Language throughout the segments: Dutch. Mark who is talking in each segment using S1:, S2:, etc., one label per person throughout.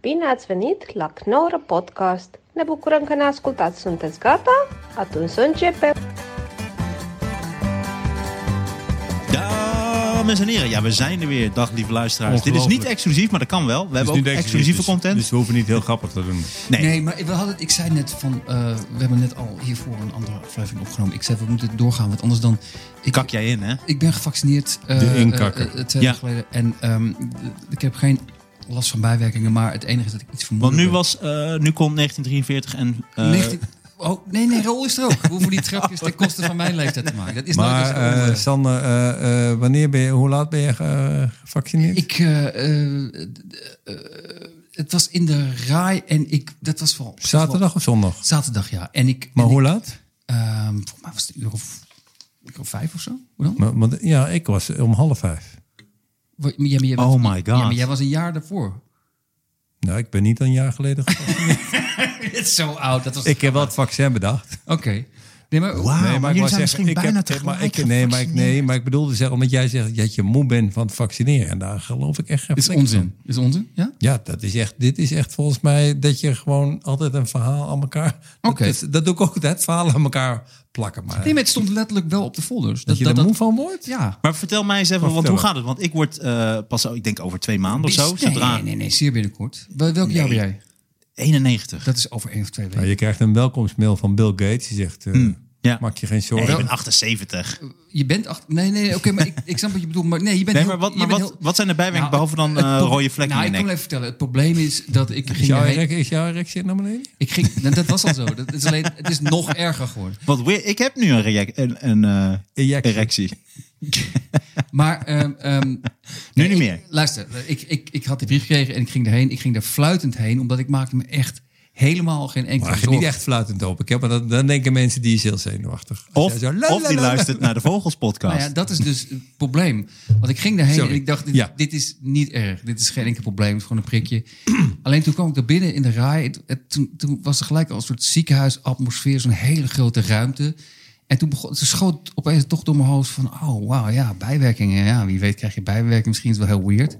S1: Bine ați venit la Knorr Podcast! Ne bucurăm că ne ascultați! Sunteți gata? Atunci să începem!
S2: Dames en heren, ja, we zijn er weer. Dag lieve luisteraars. Dit is
S3: Ongelooflijk.
S2: niet exclusief, maar dat kan wel. We hebben ook
S3: niet
S2: exclusieve
S3: dus-
S2: content.
S3: Dus we hoeven niet heel grappig te doen.
S2: nee.
S4: Nee, maar we hadden, ik zei net van, eh, we hebben net al hiervoor een andere aflevering opgenomen. Ik zei, we moeten doorgaan, want anders dan... Ik,
S2: Kak jij in, hè?
S4: ik ben gevaccineerd. eh,
S3: De inkakker.
S4: eh, eh, twee jaar
S2: Ja.
S4: geleden. En ehm, d- ik heb geen last van bijwerkingen, maar het enige is dat ik iets vermoed.
S2: Want nu, was, eh, nu komt 1943 en... eh,
S4: Oh, nee, nee, Rol is er ook. We hoeven die trapjes ten koste van mijn leeftijd te maken. Dat is nou
S3: Maar
S4: dat is een
S3: eh
S4: andere-
S3: Sander, eh, eh, wanneer ben je, hoe laat ben je eh, gevaccineerd?
S4: Ik, eh, eh, d- eh, het was in de raai en ik, dat was vooral...
S3: Zaterdag of zondag?
S4: Zaterdag, ja. En ik,
S3: Maar
S4: en
S3: hoe
S4: ik-
S3: laat?
S4: ehm, volgens mij was het een uur of, uur of vijf of zo. Hoe dan?
S3: Maar- want- ja, ik was om half vijf.
S4: Wa- maar jij- maar jij
S2: Oh
S4: was-
S2: my
S4: Ja,
S2: God.
S4: maar jij was een jaar daarvoor.
S3: Nou, ik ben niet een jaar geleden gevaccineerd.
S4: Het is zo oud. Dat was...
S3: ik heb wel het vaccin bedacht.
S4: Oké. Nee, maar...
S2: Wauw, maar jullie
S3: wou
S2: zijn misschien
S3: ik
S2: bijna
S3: heb, maar
S2: tegelijk
S3: ik, nee, maar ik, nee,
S2: gevaccineerd.
S3: maar ik bedoelde zeggen, omdat jij zegt dat je moe bent van het vaccineren. En daar geloof ik echt geen
S4: Dit is
S3: flikker van.
S4: onzin. Dit is onzin, ja?
S3: Ja, dat is echt, dit is echt volgens mij dat je gewoon altijd een verhaal aan elkaar...
S4: Oké.
S3: Dat, dat doe ik ook, het verhaal aan elkaar plakken. Maar,
S4: Nee, maar het stond letterlijk wel op de folders.
S3: dat je er moe van wordt?
S4: Ja.
S2: Maar vertel mij eens even, want hoe
S3: vertel
S2: gaat het? Want ik word eh, pas, ik denk over twee maanden of zo.
S4: nee,
S2: Zodra
S4: nee, nee, nee, zeer binnenkort. Wel- Welk jaar ben jij?
S2: 91.
S4: Dat is over één of twee weken.
S3: Nou, je krijgt een welkomstmail van Bill Gates. Die zegt, eh,
S2: ja.
S3: maak je geen zorgen.
S2: Nee, ik ben 78.
S4: Je bent acht... Nee, nee, oké, maar ik, ik snap wat je bedoelt. Maar nee, je bent
S2: Nee,
S4: heel-
S2: maar wat,
S4: je
S2: maar
S4: bent
S2: wat,
S4: heel- Nou,
S2: wat zijn de bijwerkingen behalve dan
S4: het
S2: eh,
S4: pro-
S2: rode vlekken in
S4: Nou, ik
S2: je
S4: kan wel
S2: nek?
S4: even vertellen. Het probleem is dat ik
S3: is,
S4: ging...
S3: jouw
S4: erheen-
S3: rek, is jouw erectie naar beneden?
S4: ik ging nou, dat was al zo. Dat is alleen, het is nog erger geworden.
S2: Want we- ik heb nu een, reac- een, een eh,
S3: Ejectie.
S2: erectie.
S4: Maar ehm, ehm,
S2: Nu niet
S4: ik-
S2: meer.
S4: Luister, ik, ik, ik had die brief gekregen en ik ging erheen. Ik ging daar fluitend heen, omdat ik maakte me echt helemaal geen enkele
S3: Maar je
S4: zorgen.
S3: niet echt fluitend op. Ik heb, maar dat, dan denken mensen, die is heel zenuwachtig. Als
S2: Of,
S3: jij zo, la,
S2: of
S3: la,
S2: die
S3: la, la.
S2: luistert naar de Vogels podcast.
S4: Nou ja, dat is dus het probleem. Want ik ging daarheen
S3: Sorry.
S4: en ik dacht, dit,
S3: Ja.
S4: dit is niet erg. Dit is geen enkel probleem, het is gewoon een prikje. Alleen toen kwam ik daar binnen in de raai. Het- het- toen, toen was er gelijk al een soort ziekenhuisatmosfeer, zo'n hele grote ruimte. En toen begon, ze schoot opeens toch door mijn hoofd van, oh wauw, ja, bijwerkingen. Ja, wie weet krijg je bijwerking, misschien is het wel heel weird.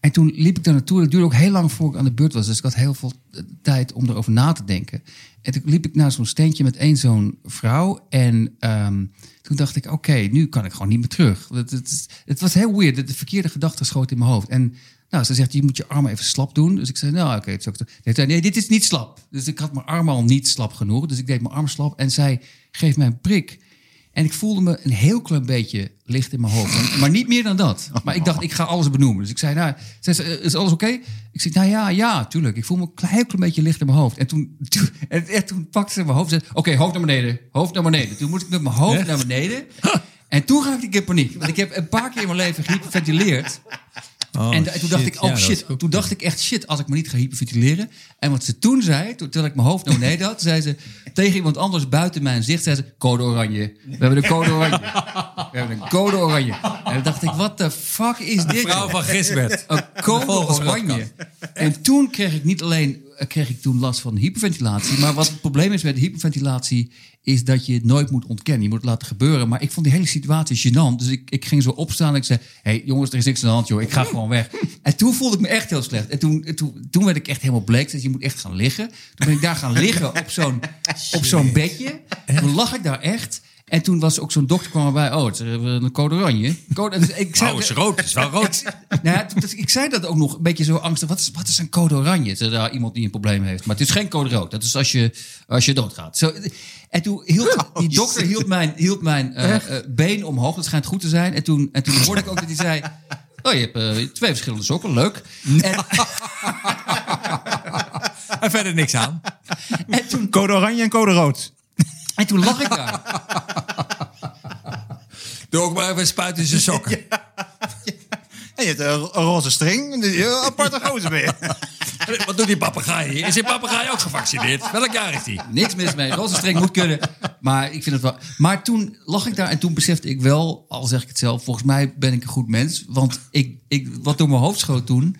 S4: En toen liep ik daar naartoe. Dat duurde ook heel lang voor ik aan de beurt was. Dus ik had heel veel eh, tijd om erover na te denken. En toen liep ik naar zo'n steentje met één zo'n vrouw. En ehm, toen dacht ik, oké, nu kan ik gewoon niet meer terug. Het, het, het was heel weird. De verkeerde gedachte schoot in mijn hoofd. En nou, ze zegt, je moet je armen even slap doen. Dus ik zei, nou, oké. het is ook zo. Nee, zei, nee, dit is niet slap. Dus ik had mijn armen al niet slap genoeg. Dus ik deed mijn arm slap. En zij geeft mij een prik. En ik voelde me een heel klein beetje licht in mijn hoofd. Maar, maar niet meer dan dat. Maar ik dacht, ik ga alles benoemen. Dus ik zei, nou, zei ze, eh, is alles oké? Ik zei, nou ja, ja, tuurlijk. Ik voel me een klein, heel klein beetje licht in mijn hoofd. En toen, toen, en, en toen pakte ze mijn hoofd en zei, oké, hoofd naar beneden, hoofd naar beneden. Toen moest ik met mijn hoofd naar beneden. En toen raakte ik in paniek. Want ik heb een paar keer in mijn leven gehyperventileerd.
S3: Oh,
S4: en da- toen dacht ik,
S3: shit. Ja,
S4: oh
S3: dat
S4: shit.
S3: is ook-
S4: Toen dacht ik echt, shit, als ik me niet ga hyperventileren. En wat ze toen zei, toen- terwijl ik mijn hoofd naar beneden had, zei ze tegen iemand anders buiten mijn zicht, zei ze, code oranje. We hebben de code oranje. We hebben een code oranje. En toen dacht ik, what the fuck is dit?
S3: Vrouw
S4: joh?
S3: van Gisbert.
S4: Een code
S3: Volgens
S4: oranje. En toen kreeg ik niet alleen eh, kreeg ik toen last van hyperventilatie. Maar wat het probleem is met hyperventilatie... is dat je het nooit moet ontkennen. Je moet het laten gebeuren. Maar ik vond die hele situatie gênant. Dus ik, ik ging zo opstaan en ik zei... hé hey, jongens, er is niks aan de hand, joh. Ik ga gewoon weg. En toen voelde ik me echt heel slecht. En toen, en toen, toen werd ik echt helemaal bleek. Dus je moet echt gaan liggen. Toen ben ik daar gaan liggen op zo'n, op zo'n bedje. Toen lag ik daar echt... En toen was ook zo'n dokter kwam erbij. Oh, het is eh, een code oranje. Code, dus ik zei,
S3: rood, Oh, is wel rood.
S4: nou ja, dus ik zei dat ook nog een beetje zo angstig. Wat is, wat is een code oranje? Zei, nou, iemand die een probleem heeft. Maar het is geen code rood. Dat is als je, als je doodgaat. Zo, en toen hield
S3: Oh,
S4: die dokter hield mijn, hield mijn eh, eh, been omhoog. Dat schijnt goed te zijn. En toen, en toen hoorde ik ook dat hij zei... Oh, je hebt eh, twee verschillende sokken. Leuk. En,
S3: En verder niks aan.
S4: en, toen,
S2: Code oranje en code rood.
S4: en toen lag ik daar.
S3: Doe ook maar even spuiten in zijn sokken.
S2: En je hebt een, ro- een roze string. Dus je een aparte gozer ben je.
S3: Wat doet die papegaai hier? Is die papegaai ook gevaccineerd? Welk jaar is die?
S4: Niks mis mee. Roze streng moet kunnen. Maar ik vind het wel. Maar toen lag ik daar en toen besefte ik wel, al zeg ik het zelf, volgens mij ben ik een goed mens. Want ik, ik, wat door mijn hoofd schoot toen.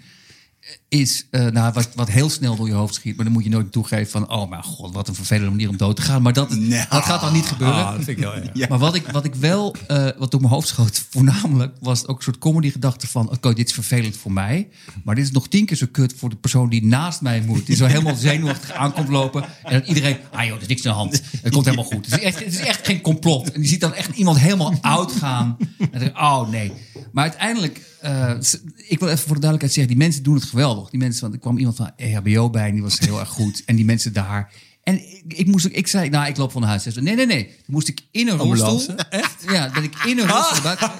S4: is, eh, nou, wat, wat heel snel door je hoofd schiet. Maar dan moet je nooit toegeven van, oh mijn god, wat een vervelende manier om dood te gaan. Maar dat,
S2: Nou.
S4: dat gaat dan niet gebeuren.
S3: Ah, dat vind ik heel erg.
S4: Maar wat ik, wat ik wel, eh, wat door mijn hoofd schoot voornamelijk, was ook een soort comedy gedachte van, oké, dit is vervelend voor mij. Maar dit is nog tien keer zo kut voor de persoon die naast mij moet. Die zo helemaal zenuwachtig aankomt lopen. En dat iedereen, ah joh, er is niks aan de hand. Het komt helemaal goed. Het is echt, het is echt geen complot. En je ziet dan echt iemand helemaal oud gaan. En dan, oh nee. Maar uiteindelijk, eh, ze- ik wil even voor de duidelijkheid zeggen, die mensen doen het geweldig. Die mensen, want er kwam iemand van E EHBO bij en die was heel erg goed. En die mensen daar... En ik, ik moest ook, ik zei, nou, ik loop van de huisarts. Nee, nee, nee. Toen moest ik in een rolstoel.
S3: Ambulance? Ah.
S4: Echt? Ja, ben ik in een rolstoel. buiten-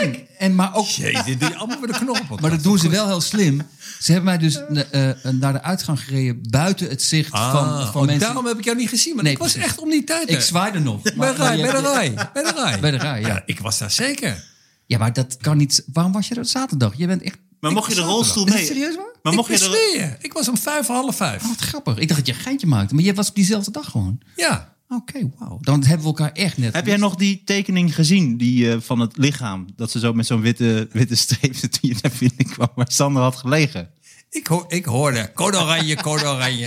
S4: En, en, maar ook,
S3: Jezus, die allemaal met de knoppen.
S4: maar dat doen ze wel heel slim. Ze hebben mij dus eh, eh, naar de uitgang gereden buiten het zicht van, van mensen.
S3: Ah, Oh, Daarom heb ik jou niet gezien, maar
S4: Nee,
S3: ik was
S4: precies.
S3: echt om die tijd.
S4: Ik
S3: hè.
S4: zwaaide nog.
S3: bij
S4: Maar-
S3: de
S4: maar
S3: rij,
S4: je-
S3: bij de rij, bij de rij.
S4: Bij de rij, ja.
S3: Ik was daar zeker.
S4: Ja, maar dat kan niet. Waarom was je er zaterdag? Je bent echt.
S2: Maar mocht je de rolstoel
S4: Is het
S2: mee?
S4: serieus waar?
S2: Maar mocht
S3: ik
S2: je er...
S3: zweer je, ik was om vijf, half vijf.
S4: Wat grappig. Ik dacht dat je een geintje maakte, maar je was op diezelfde dag gewoon.
S3: Ja.
S4: Oké, wauw. Dan hebben we elkaar echt net.
S5: Heb jij nog die tekening gezien die, eh, van het lichaam? Dat ze zo met zo'n witte, witte streep zit die je naar binnen kwam, waar Sander had gelegen.
S3: Ik, hoor, ik hoorde code oranje, code oranje.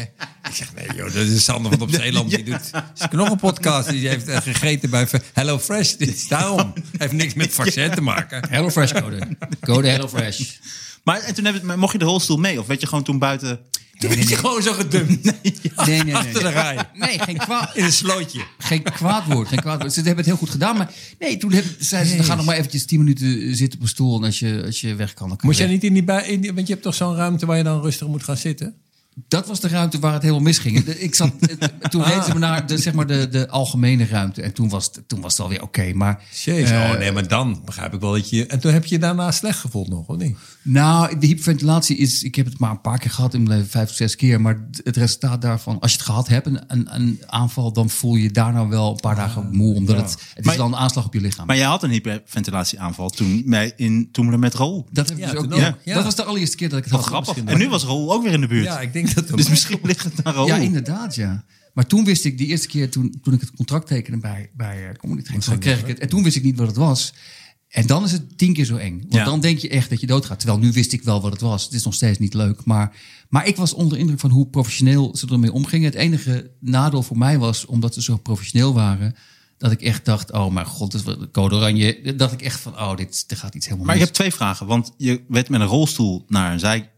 S3: Ik zeg, nee joh, dat is Sander van op Zeeland. Die doet is nog een podcast. Die heeft eh, gegeten bij Ve- Hello Fresh. Dit is daarom. Heeft niks met vaccin te maken.
S4: HelloFresh code. Code HelloFresh.
S5: Maar en toen heb je, maar mocht je de rolstoel mee? Of werd je gewoon toen buiten...
S3: Toen is hij gewoon zo gedumpt.
S4: Nee, nee, nee.
S3: Achter de rij.
S4: Nee, geen kwaad,
S3: In een slootje.
S4: geen kwaad woord. Geen kwaad woord. Ze hebben het heel goed gedaan. Maar nee, toen hebben, zeiden ze, dan ga nog maar eventjes 10 minuten eh, zitten op een stoel. En als je, als je weg kan, dan kan
S3: Moet
S4: je
S3: jij
S4: weg.
S3: niet in die, bui- in die- Want je hebt toch zo'n ruimte waar je dan rustig moet gaan zitten?
S4: Dat was de ruimte waar het helemaal misging. De- Ik zat, eh, toen reden ze me naar de, zeg maar de, de algemene ruimte. En toen was, het- toen was het alweer oké. Maar
S3: Jezus. oh nee, maar dan begrijp ik wel dat je... En toen heb je je daarna slecht gevoeld nog, of niet?
S4: Nou, de hyperventilatie is... Ik heb het maar een paar keer gehad in mijn leven, vijf of zes keer. Maar het resultaat daarvan, als je het gehad hebt, een, een, een aanval... dan voel je daarna wel een paar dagen moe. Omdat het, het
S5: Ah, Maar-
S4: is dan een aanslag op je lichaam.
S5: Maar jij had een hyperventilatieaanval toen bij, in Toemelen met Rol.
S4: dat, heb ik
S3: Ja,
S4: dus ook,
S3: toen ook.
S4: ja.
S3: Ja.
S4: dat was de allereerste keer dat ik het had.
S5: Grappig.
S4: Misschien-
S5: En nu was Rol ook weer in de buurt.
S3: Ja, ik denk dat...
S5: dus misschien ligt het naar Rol.
S4: Ja, inderdaad, ja. Maar toen wist ik, die eerste keer toen, toen ik het contract tekende bij, bij eh, Comedy Train, toen kreeg ik het. En toen wist ik niet wat het was. En dan is het tien keer zo eng. Want
S5: Ja.
S4: dan denk je echt dat je doodgaat. Terwijl nu wist ik wel wat het was. Het is nog steeds niet leuk. Maar, maar ik was onder de indruk van hoe professioneel ze ermee omgingen. Het enige nadeel voor mij was, omdat ze zo professioneel waren... dat ik echt dacht, oh mijn god, dit is wel- code oranje. Dat ik echt van, oh, dit, er gaat iets helemaal
S5: Maar ik
S4: mis.
S5: heb twee vragen. Want je werd met een rolstoel naar een zij,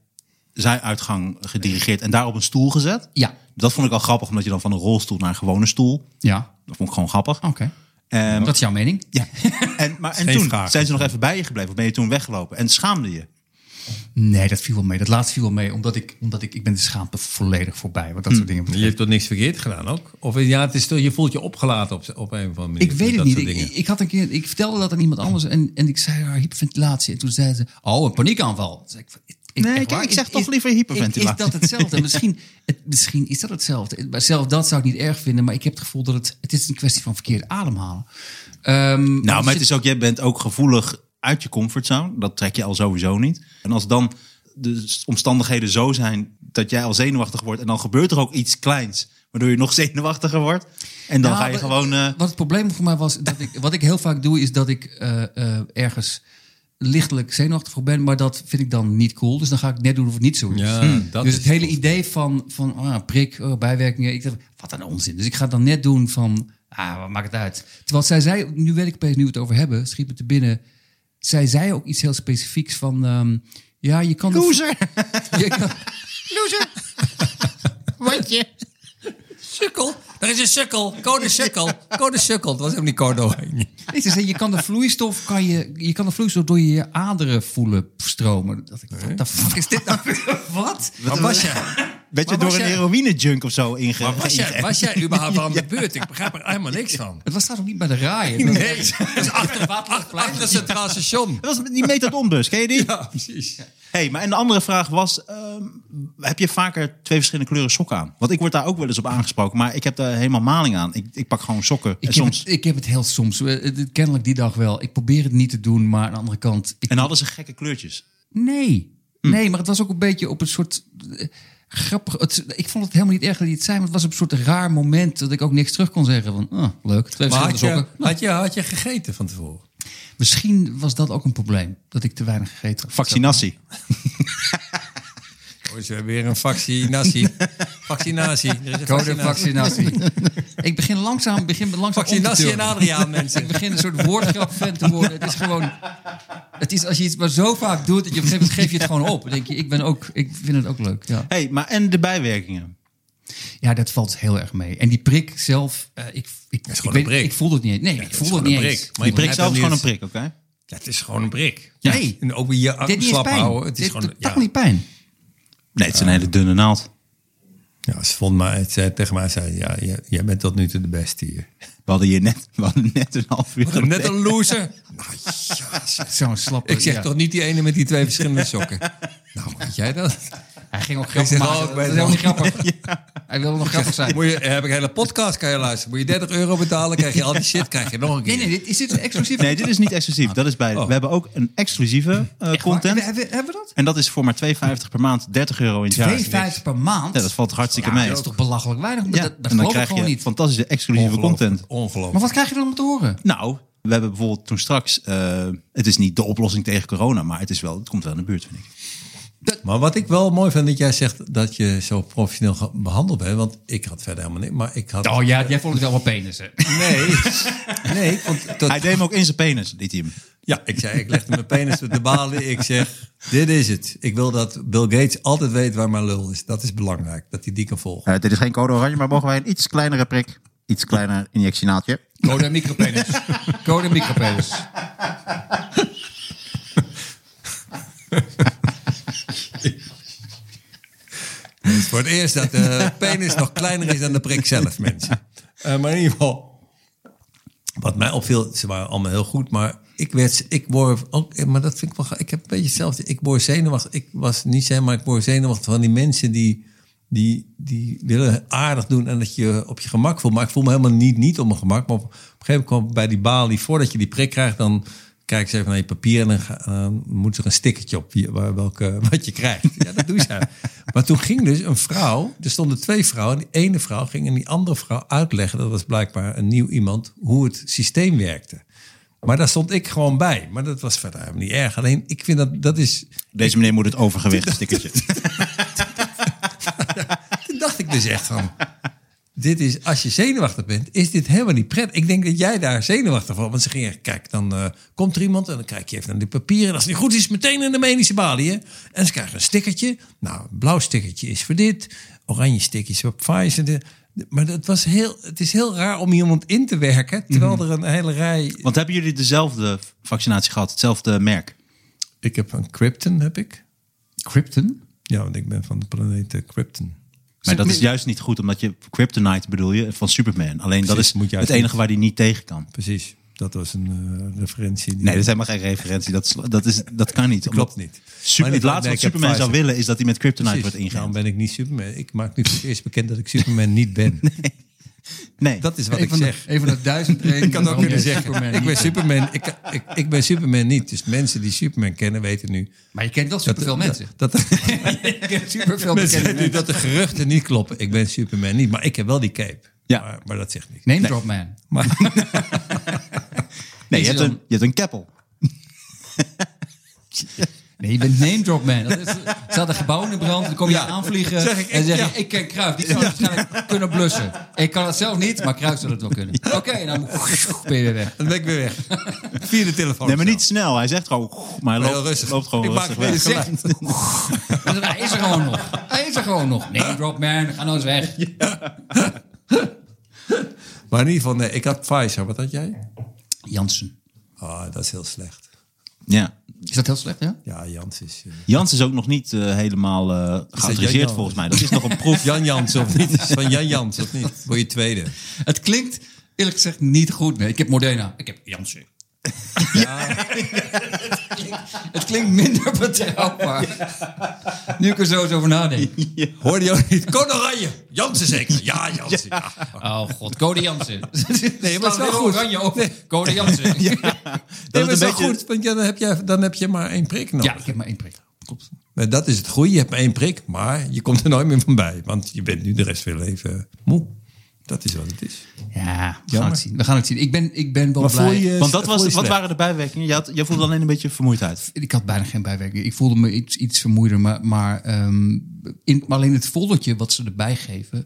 S5: zijuitgang gedirigeerd en daar op een stoel gezet.
S4: Ja,
S5: Dat vond ik al grappig, omdat je dan van een rolstoel naar een gewone stoel.
S4: ja.
S5: Dat vond ik gewoon grappig.
S4: Oké.
S5: Ehm,
S4: Dat is jouw mening?
S5: ja. en, maar, en
S3: Geen
S5: toen
S3: vraag.
S5: zijn ze nog even bij je gebleven. Of ben je toen weggelopen? En schaamde je?
S4: Nee, dat viel wel mee. Dat laatste viel wel mee, omdat ik, omdat ik, ik ben de schaamte volledig voorbij. Wat dat
S5: Hm.
S4: soort dingen
S3: Dus Je
S4: betreft.
S3: hebt toch niks verkeerd gedaan ook? Of ja, het is toch, je voelt je opgelaten op, op een of andere manier.
S4: Ik weet het
S3: Dat
S4: niet.
S3: soort
S4: Ik,
S3: dingen.
S4: ik, ik had een keer, ik vertelde dat aan iemand anders en, en ik zei haar hyperventilatie. En toen zei ze, oh, een paniekaanval. Toen zei ik, van, ik- ik-
S5: Nee,
S4: echt
S5: ik-
S4: waar?
S5: ik
S4: Is-
S5: zeg toch
S4: is-
S5: liever hyperventilatie.
S4: Is, is dat hetzelfde? misschien, het, misschien is dat hetzelfde. Maar Zelf dat zou ik niet erg vinden, maar ik heb het gevoel dat het, het is een kwestie van verkeerd ademhalen. Ehm,
S5: Nou,
S4: als
S5: maar
S4: je-
S5: het is ook, jij bent ook gevoelig uit je comfortzone. Dat trek je al sowieso niet. En als dan de s- omstandigheden zo zijn dat jij al zenuwachtig wordt... en dan gebeurt er ook iets kleins, waardoor je nog zenuwachtiger wordt... en dan
S4: Nou,
S5: ga je
S4: wat-
S5: gewoon... eh,
S4: Wat het probleem voor mij was, dat ik, wat ik heel vaak doe, is dat ik eh, eh, ergens lichtelijk zenuwachtig voor ben, maar dat vind ik dan niet cool. Dus dan ga ik net doen of het niet zo is.
S3: Ja, dat
S4: dus
S3: is
S4: het hele idee van, van ah, prik, oh, bijwerkingen, ik dacht, wat een onzin. Dus ik ga het dan net doen van, ah, wat maakt het uit. Terwijl zij zei, nu weet ik opeens nu we het over hebben, schiet me te binnen. Zij zei ook iets heel specifieks van, ehm, ja, je kan... Loser! Je kan,
S3: Sukkel. Er is een sukkel. Code sukkel. Code sukkel. Dat was helemaal niet code oranje.
S4: Nee, ze zei, je kan de vloeistof, kan je, je kan de vloeistof door je, je aderen voelen stromen. Dat dacht ik, wat de fuck is dit nou? weer? wat?
S3: Maar was jij,
S5: werd je
S3: maar was
S5: door een
S3: jij-
S5: heroïne-junk of zo inge...
S3: maar was jij, was jij überhaupt aan de beurt? Ik begrijp er helemaal niks van.
S4: Het was trouwens ook niet bij de raaien.
S3: Nee, dat is achter Waterplein. Achter het Centraal Station.
S5: Dat was die metadonbus, ken je die?
S3: Ja, precies.
S5: Hey, maar en de andere vraag was, ehm, heb je vaker twee verschillende kleuren sokken aan? Want ik word daar ook wel eens op aangesproken, maar ik heb daar helemaal maling aan. Ik, ik pak gewoon sokken.
S4: Ik
S5: en
S4: heb,
S5: soms.
S4: het, ik heb het heel soms. Eh, het- Kennelijk die dag wel. Ik probeer het niet te doen, maar aan de andere kant... Ik,
S5: En hadden ze gekke kleurtjes.
S4: Nee. Nee, maar het was ook een beetje op een soort eh, grappig. Het, ik vond het helemaal niet erg dat hij het zei, maar het was op een soort raar moment dat ik ook niks terug kon zeggen. Van, ah, leuk. Twee verschillende
S3: Maar had je,
S4: sokken.
S3: had, je, had je gegeten van tevoren?
S4: Misschien was dat ook een probleem, dat ik te weinig gegeten had.
S5: Vaccinatie.
S3: Oh, ze hebben weer een vaccinatie. vaccinatie. Er is een
S4: Code
S3: vaccinatie.
S4: vaccinatie. ik begin langzaam, begin langzaam
S3: Vaccinatie
S4: om
S3: en
S4: te turnen.
S3: Adriaan, mensen.
S4: Ik begin een soort woordgrapfan te worden. Het is gewoon... Het is als je iets maar zo vaak doet, dat je op een gegeven moment geef je het gewoon op. Dan denk je, ik, ben ook, ik vind het ook leuk. Ja.
S5: hey, maar en de bijwerkingen?
S4: Ja, dat valt heel erg mee. En die prik zelf, eh, ik, ik,
S3: is
S4: ik,
S3: gewoon een
S4: weet-
S3: prik.
S4: ik voelde het niet. Nee, ik
S3: is
S4: voelde het
S3: gewoon
S4: niet
S3: een
S4: eens.
S3: prik.
S5: Die
S3: Maar je
S5: prik
S3: begrijpt
S5: zelf is
S3: hem
S5: gewoon een
S3: niet
S5: prik, oké?
S3: Ja, het is gewoon een prik.
S4: Ja.
S3: Nee. En ook weer je
S4: Dit
S3: arm
S4: niet eens
S3: slap
S4: pijn.
S3: houden. Het is
S4: Dit
S3: gewoon...
S4: totaal
S3: ja.
S4: niet pijn.
S5: Nee, het is een
S4: Eh.
S5: hele dunne naald.
S3: Ja, ze vond mij, het zei, tegen mij zei, ja, jij, jij bent tot nu toe de beste hier.
S5: We hadden hier net, we hadden net een half uur
S3: Net
S5: geleden-
S3: een loser.
S4: Zo'n slappe...
S3: Nou, Ik zeg
S4: ja.
S3: toch niet die ene met die twee verschillende sokken. Nou, weet jij dat?
S4: Hij ging ook grappig
S3: zeg oh,
S4: maken.
S3: altijd bij
S4: dat is
S3: de
S4: ook niet grappig. Hij wilde nog grappig zijn.
S3: Moet je, heb ik een hele podcast, kan je luisteren. Moet je 30 euro betalen, krijg je al die shit, krijg je nog een keer.
S4: Nee, nee, dit, is dit een exclusief?
S5: Nee, dit is niet exclusief. Dat is bij.
S3: Oh.
S5: We hebben ook een exclusieve eh,
S4: Waar-
S5: content.
S4: Hebben, hebben we dat?
S5: En dat is voor maar 2,50 per maand, 30 euro in het jaar.
S4: 2,50 per maand?
S5: Ja, dat valt toch hartstikke
S4: Ja,
S5: mee.
S4: Dat is toch belachelijk weinig?
S5: Ja,
S4: dat, dat
S5: en dan
S4: geloof ik
S5: krijg je
S4: gewoon niet.
S5: fantastische exclusieve content.
S3: Ongelooflijk.
S4: Maar wat krijg je dan om te horen?
S5: Nou, we hebben bijvoorbeeld toen straks. eh, het is niet de oplossing tegen corona, maar het, is wel, het komt wel in de buurt, vind ik.
S3: Maar wat ik wel mooi vind dat jij zegt dat je zo professioneel ge- behandeld bent. Want ik had verder helemaal niet. Maar ik had.
S4: Oh ja, jij vond het wel wat penis, hè?
S3: Nee. nee. ik vond dat-
S5: Hij deed hem ook in zijn penis, dit team.
S3: ja, ik zei, ik legde mijn penis op de balie. Ik zeg, dit is het. Ik wil dat Bill Gates altijd weet waar mijn lul is. Dat is belangrijk. Dat hij die kan volgen.
S5: Eh, dit is geen code oranje, maar mogen wij een iets kleinere prik? Iets kleiner injectienaaltje.
S4: Code en micropenis. Code en micropenis.
S3: Het is voor het eerst dat de penis nog kleiner is dan de prik zelf, mensen. Eh, maar in ieder geval, wat mij opviel, ze waren allemaal heel goed, maar ik werd, ik word ook, maar dat vind ik wel, ga- ik heb een beetje hetzelfde. Ik word zenuwachtig, ik was niet zenuwachtig, maar ik word zenuwachtig van die mensen die, die, die willen aardig doen en dat je op je gemak voelt. Maar ik voel me helemaal niet, niet op mijn gemak. Maar op een gegeven moment kwam bij die balie, voordat je die prik krijgt, dan kijken ze even naar je papier en dan, ga- dan moet er een stickertje op je, waar, welke, wat je krijgt. Ja, dat doen ze. Maar toen ging dus een vrouw, er stonden twee vrouwen. En die ene vrouw ging en die andere vrouw uitleggen, dat was blijkbaar een nieuw iemand, hoe het systeem werkte. Maar daar stond ik gewoon bij. Maar dat was verder helemaal niet erg. Alleen ik vind dat, dat is...
S5: Deze meneer moet het overgewicht stickertje.
S3: Toen dacht ik dus echt van... Dit is, als je zenuwachtig bent, is dit helemaal niet prettig. Ik denk dat jij daar zenuwachtig van Want ze gingen, kijk, dan eh, komt er iemand en dan kijk je even naar die papieren. En als het niet goed is, meteen in de medische balie. hè. En ze krijgen een stickertje. Nou, een blauw stickertje is voor dit. Oranje stickertje is voor Pfizer. De- de- Maar dat was heel, het is heel raar om iemand in te werken. Terwijl er een hele rij...
S5: Want hebben jullie dezelfde vaccinatie gehad? Hetzelfde merk?
S3: Ik heb een Krypton, heb ik.
S4: Krypton?
S3: Ja, want ik ben van de planeet eh, Krypton.
S5: Maar dat is juist niet goed, omdat je Kryptonite bedoel je van Superman. Alleen dat
S3: Precies,
S5: is
S3: moet je
S5: het
S3: uit-
S5: enige waar die niet tegen kan.
S3: Precies. Dat was een eh, referentie. die-
S5: Nee, dat is helemaal geen referentie. Dat, is- dat, is, dat kan niet.
S3: Klopt
S5: Omdat
S3: niet.
S5: Super,
S3: Maar
S5: het
S3: dat-
S5: laatste wat
S3: nee, ik heb
S5: Superman zou
S3: Pfizer.
S5: willen is dat hij met Kryptonite
S3: Precies. Nou,
S5: wordt
S3: Daarom
S5: ingegaan.
S3: ben ik niet Superman. Ik maak nu voor het eerst bekend dat ik Superman niet ben.
S5: Nee,
S3: Dat is wat
S4: Een
S3: ik
S4: van de-
S3: zeg.
S4: een van de duizend redenen.
S3: Ik had ook
S4: waarom
S3: kunnen
S4: jij
S3: zeggen,
S4: Superman
S3: ik ben
S4: niet bent.
S3: Superman. Ik, ik, ik ben Superman niet. Dus mensen die Superman kennen weten nu...
S4: Maar je kent wel superveel mensen.
S3: Dat, dat,
S4: Ik ken superveel
S3: mensen
S4: bekende
S3: weten nu
S4: mensen.
S3: dat de geruchten niet kloppen. Ik ben Superman niet, maar ik heb wel die cape.
S5: Ja.
S3: Maar, maar dat zegt niks.
S4: Name drop man.
S5: nee je, hebt
S4: dan-
S5: een, je hebt een keppel.
S3: Oh,
S4: Nee, je bent name drop man. Dat is, er staat een gebouw in brand, dan kom je
S3: Ja.
S4: aanvliegen
S3: Zeg ik, ik-
S4: en zeg je,
S3: ja.
S4: ik ken Kruif. Die zou het waarschijnlijk kunnen blussen. Ik kan het zelf niet, maar Kruif zou dat wel kunnen. Oké, dan ben je weer weg.
S3: Dan ben ik weer weg. Via de telefoon.
S5: Nee, maar niet snel. Hij zegt gewoon, maar hij
S3: Heel
S5: loopt,
S3: rustig.
S5: loopt gewoon
S3: Ik maak
S5: rustig
S3: geen
S5: weg.
S3: zin.
S4: Zeg, Dus hij is er gewoon nog. Hij is er gewoon nog. Name drop man, ga nou eens weg.
S3: Maar in ieder geval, nee, ik had Pfizer. Wat had jij?
S4: Jansen.
S3: Ah, dat is heel slecht.
S5: Ja.
S4: Is dat heel slecht, ja?
S3: Ja, Jans is... eh,
S5: Jans is ook nog niet eh, helemaal eh,
S3: Jan
S5: geautoriseerd
S3: Jans?
S5: volgens mij. Dat is nog een proef.
S3: Jan Jans of niet? Is Van Jan Jans of niet? Word je tweede.
S4: Het klinkt eerlijk gezegd niet goed. Nee, ik heb Modena. Ik heb Janssen. Ja. het klinkt minder betrouwbaar. Nu ik er zo eens over nadenk.
S3: Hoorde je ook niet? Code Oranje. Jansen zeker. Ja, Jansen. Ja.
S4: Oh god, Code Jansen.
S3: Nee, maar het is wel goed.
S4: Oranje op. Code Jansen. Ja. Nou.
S3: Dat
S5: het
S3: is
S5: een
S3: wel
S5: beetje-
S3: goed, want ja, dan, heb je, dan heb je maar één prik nodig.
S4: ik heb maar één prik. Klopt.
S3: Maar Dat is het goede, je hebt maar één prik, maar je komt er nooit meer van bij. Want je bent nu de rest van je leven moe. Dat is wat het is.
S4: Ja, we gaan het zien. We gaan het zien. Ik ben, ik ben wel
S3: Maar voel
S4: blij.
S3: je-
S5: Want dat
S3: voel
S5: was,
S3: je
S5: wat
S3: slecht?
S5: waren de bijwerkingen? Je, had, je voelde alleen een beetje vermoeidheid.
S4: Ik had bijna geen bijwerking. Ik voelde me iets, iets vermoeider. Maar, maar, ehm, in, maar alleen het foldertje wat ze erbij geven...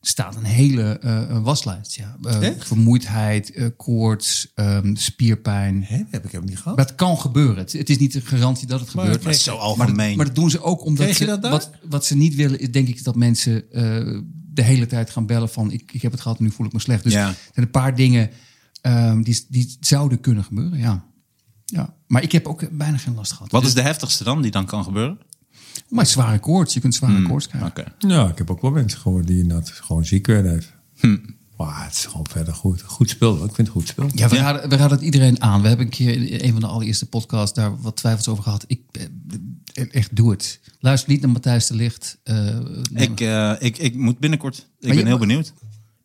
S4: staat een hele eh, waslijst. Ja. Eh, vermoeidheid, eh, koorts, ehm, spierpijn.
S3: Hè, dat heb ik helemaal niet gehad.
S4: Maar het kan gebeuren. Het, het is niet een garantie dat het gebeurt.
S3: kreeg-
S5: Zo
S4: Maar,
S5: algemeen.
S4: maar dat doen ze ook omdat
S3: Kreeg je
S4: ze-
S3: dat daar?
S4: wat, wat ze niet willen, is denk ik dat mensen eh, de hele tijd gaan bellen van ik, ik heb het gehad en nu voel ik me slecht. Dus
S5: Ja.
S4: er zijn een paar dingen ehm, die, die zouden kunnen gebeuren. Ja. ja. Maar ik heb ook bijna geen last gehad.
S5: wat is de heftigste dan die dan kan gebeuren?
S4: Maar zware koorts. Je kunt zware koorts krijgen.
S5: Oké.
S3: Nou, ik heb ook wel mensen gehoord die inderdaad gewoon ziek werden even. Maar het is gewoon verder goed. Goed spul. hoor. Ik vind het goed spul.
S4: Ja, we, Raden, we raden het iedereen aan. We hebben een keer in een van de allereerste podcasts daar wat twijfels over gehad. Ik, eh, echt, doe het. Luister niet naar Matthijs de Licht. eh, neem-
S5: Ik, eh, ik, ik moet binnenkort. Ik ben
S4: je-
S5: heel benieuwd.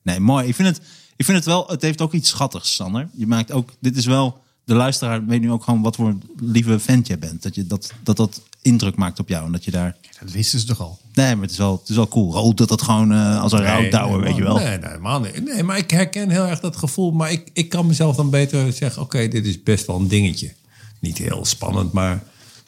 S5: Nee, mooi. Ik vind, het, ik vind het wel. Het heeft ook iets schattigs, Sander. Je maakt ook. Dit is wel. De luisteraar weet nu ook gewoon wat voor een lieve vent jij bent. Dat, je dat, dat dat indruk maakt op jou. En dat je daar.
S4: dat wisten ze toch al.
S5: Nee, maar het is wel, het is wel cool. Rood dat dat gewoon eh, als een rood touwer, weet je wel.
S3: Nee, nee, helemaal niet. Nee, maar ik herken heel erg dat gevoel. Maar ik, ik kan mezelf dan beter zeggen... oké, dit is best wel een dingetje. Niet heel spannend, maar...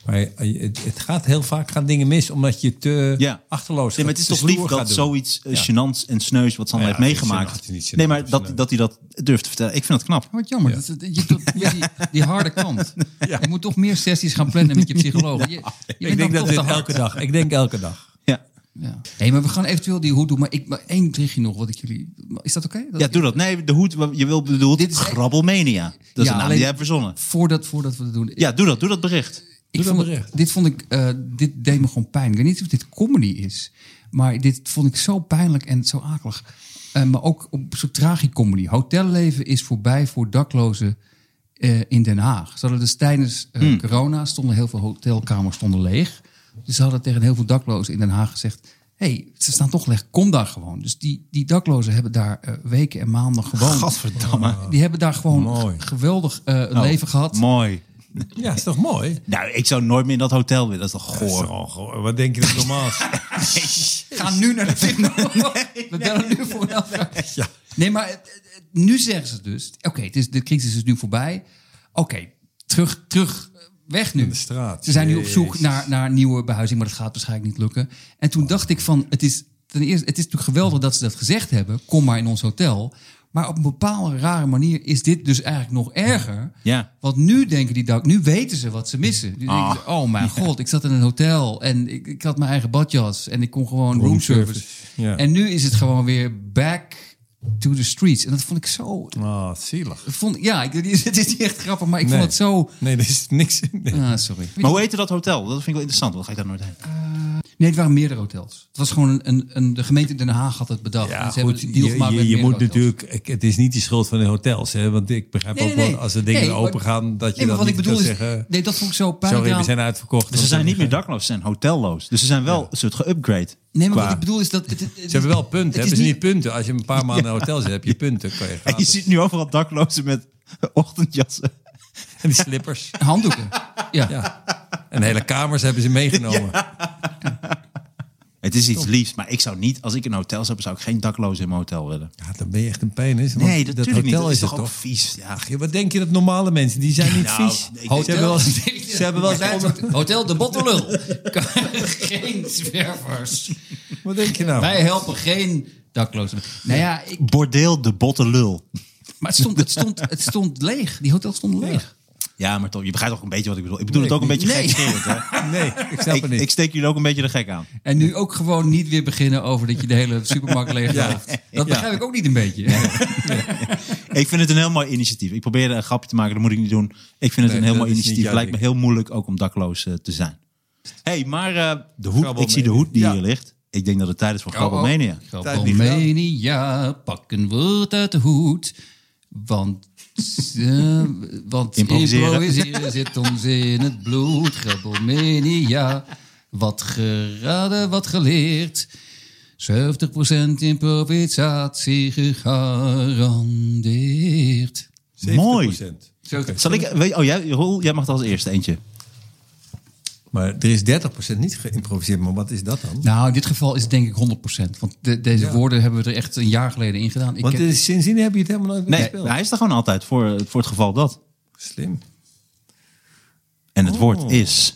S3: maar je- het, het gaat heel vaak gaan dingen mis... omdat je te
S5: Ja.
S3: achterloos
S5: Nee, maar het is toch lief dat zoiets eh, gênants en sneu's wat Sander
S3: Ja,
S5: heeft
S3: het is
S5: meegemaakt.
S3: gênant, het is niet gênant,
S5: nee, maar
S3: het is
S5: dat,
S3: sneu.
S5: dat hij dat durft te vertellen. Ik vind dat knap.
S4: Wat jammer. Dat, dat- je, dat- met die, die harde kant. Je moet toch meer sessies gaan plannen met je psycholoog. Je, je bent
S3: Ik denk
S4: dan
S3: dat
S4: toch
S3: dit
S4: te hard.
S3: elke dag... Ik denk elke dag.
S5: Ja,
S4: Ja. Nee, maar we gaan eventueel die hoed doen. Maar, ik, maar één berichtje nog wat ik jullie... Is dat oké? Dat
S5: ja
S4: ik-
S5: doe dat. Nee, de hoed, je wil bedoeld. Dit
S4: Dit
S5: is
S4: is-
S5: Grabbelmania. Dat is
S4: Ja,
S5: een naam
S4: alleen-
S5: die jij hebt verzonnen.
S4: Voordat, voordat we dat doen.
S5: Ja, doe dat. Doe dat bericht.
S4: ik
S3: dat
S4: vond,
S3: maar
S4: het-
S3: echt.
S4: dit vond ik... eh, dit deed me gewoon pijn. Ik weet niet of dit comedy is. Maar dit vond ik zo pijnlijk en zo akelig. Eh, maar ook op zo'n tragicomedy. Hotelleven is voorbij voor daklozen eh, in Den Haag. Ze hadden dus tijdens eh,
S3: Hmm.
S4: corona stonden heel veel hotelkamers stonden leeg. Dus ze hadden tegen heel veel daklozen in Den Haag gezegd... hé, hey, ze staan toch leeg, kom daar gewoon. Dus die, die daklozen hebben daar eh, weken en maanden gewoond.
S5: Gadverdamme.
S4: Die hebben daar gewoon
S3: Mooi. Nou,
S4: een geweldig eh, een leven gehad.
S5: Oh, Mooi.
S3: Ja, is toch mooi?
S5: Nou, ik zou nooit meer in dat hotel willen. Dat is toch
S3: Zo,
S5: goor.
S3: goh, wat denk je dat normaal is?
S4: Ga nu naar de techno. We bellen nu voor een half jaar. Nee, maar het- het- het- nu zeggen ze dus... Oké, het is de crisis is nu voorbij. Oké, terug, terug, eh, weg nu.
S3: de straat.
S4: Ze zijn nu op zoek
S3: Jezus.
S4: naar, naar nieuwe behuizing, maar dat gaat waarschijnlijk niet lukken. En toen dacht ik van, het is, ten eerste, het is natuurlijk geweldig dat ze dat gezegd hebben. Kom maar in ons hotel. Maar op een bepaalde rare manier is dit dus eigenlijk nog erger.
S5: Ja.
S4: Want nu denken die dak, nu weten ze wat ze missen. Nu
S3: Ah.
S4: denken ze, oh mijn god, ik zat in een hotel en ik, ik had mijn eigen badjas en ik kon gewoon roomservice.
S3: service, ja.
S4: En nu is het gewoon weer back to the streets. En dat vond ik zo.
S3: Ah, zielig.
S4: Vond, ja, ik, het is niet echt grappig, maar ik
S3: Nee.
S4: vond het zo.
S3: Nee, er is niks in. Nee.
S4: Ah, sorry.
S5: Maar hoe heette dat hotel? Dat vind ik wel interessant. Want dan ga ik daar nooit heen.
S4: Nee, het waren meerdere hotels. Het was gewoon een, een, een- de gemeente Den Haag had het bedacht. En ze
S3: Ja, goed.
S4: hebben een
S3: Je,
S4: deal gemaakt met
S3: je, je
S4: meerdere
S3: moet
S4: hotels.
S3: natuurlijk. ik- het is niet de schuld van de hotels, hè? Want ik begrijp
S4: Nee,
S3: ook
S4: nee,
S3: wel
S4: nee.
S3: als de dingen
S4: Nee, maar-
S3: open gaan, dat je
S4: Nee, maar
S3: dan
S4: wat ik
S3: niet
S4: bedoel
S3: kan
S4: is.
S3: zeggen.
S4: Nee, dat vond ik zo pijnlijk.
S3: Sorry, we
S4: aan-
S3: zijn uitverkocht.
S5: Dus ze
S3: want
S5: zijn
S3: dan-
S5: niet meer dakloos, ze zijn hotelloos. Dus ze zijn wel een soort geüpgrade.
S4: Nee, maar wat
S5: Qua-
S4: ik bedoel is dat. Het, het-
S3: Ze hebben wel punten.
S4: het is
S3: Hebben ze niet punten? Als je een paar maanden hotel zit, heb je punten. Kan
S5: En
S3: je
S5: je
S3: gratis.
S5: ziet nu overal daklozen met ochtendjassen.
S3: En die slippers.
S4: handdoeken. Ja.
S3: Ja. En hele kamers hebben ze meegenomen.
S5: Het is iets liefs, maar ik zou niet, als ik een hotel zou hebben, zou ik geen daklozen in mijn hotel willen.
S3: Ja, dan ben je echt een penis. want
S5: Nee, dat,
S3: dat
S5: natuurlijk
S3: hotel
S5: niet. Dat is,
S3: is het
S5: toch ook
S3: toch?
S5: vies. Ja,
S3: Ach, joh, wat denk je dat normale mensen, die zijn niet
S5: Nou,
S3: vies.
S5: ik-
S3: Ze hebben wel eens- ze hebben wel eens
S4: Martijn,
S3: onder-
S4: Hotel de Bottelul. geen zwervers.
S3: Wat denk je nou?
S4: Wij helpen geen daklozen. Nou ja, ik,
S5: Bordeel de botte lul.
S4: maar het stond, het, stond, het stond leeg. Die hotel stond leeg.
S5: Ja, maar toch, je begrijpt toch een beetje wat ik bedoel. Ik bedoel
S3: Nee,
S5: het ook een
S3: ik
S5: beetje
S4: niet.
S5: gekscherend, hè?
S3: Nee, ik snap
S5: Ik,
S3: het niet.
S5: ik steek jullie ook een beetje de gek aan.
S4: En nu ook gewoon niet weer beginnen over dat je de hele supermarkt leeg loopt. Dat begrijp ik ook niet een beetje.
S5: Ik vind het een heel mooi initiatief. Ik probeerde een grapje te maken, dat moet ik niet doen. Ik vind het een heel
S3: dat
S5: mooi
S3: is niet
S5: initiatief.
S3: jouw
S5: Lijkt me
S3: ding.
S5: heel moeilijk ook om dakloos eh, te zijn. hey, maar eh, de hoed, ik zie de hoed die
S3: Ja. Oh,
S5: hier ligt. Ik denk dat het Oh, tijd is voor Grabbelmania.
S4: Grabbelmania, pak een woord uit de hoed. Want, eh, want
S5: Improviseren.
S4: improviseren. zit ons in het bloed. Grabbelmania, wat geraden, wat geleerd. 70% improvisatie gegarandeerd.
S5: Mooi.
S3: 70%.
S5: Zal ik, weet, oh, jij, Roel, jij mag er als eerste eentje.
S3: Maar er is 30% niet geïmproviseerd. Maar wat is dat dan?
S4: Nou, in dit geval is het denk ik 100%. Want de- deze
S3: Ja.
S4: woorden hebben we er echt een jaar geleden in gedaan. Ik
S3: Want
S4: ken-
S3: eh, sindsdien heb je het helemaal nooit meer
S5: Nee, nou-
S3: gespeeld.
S5: hij is er gewoon altijd voor, voor het geval dat.
S3: Slim.
S5: En het woord is...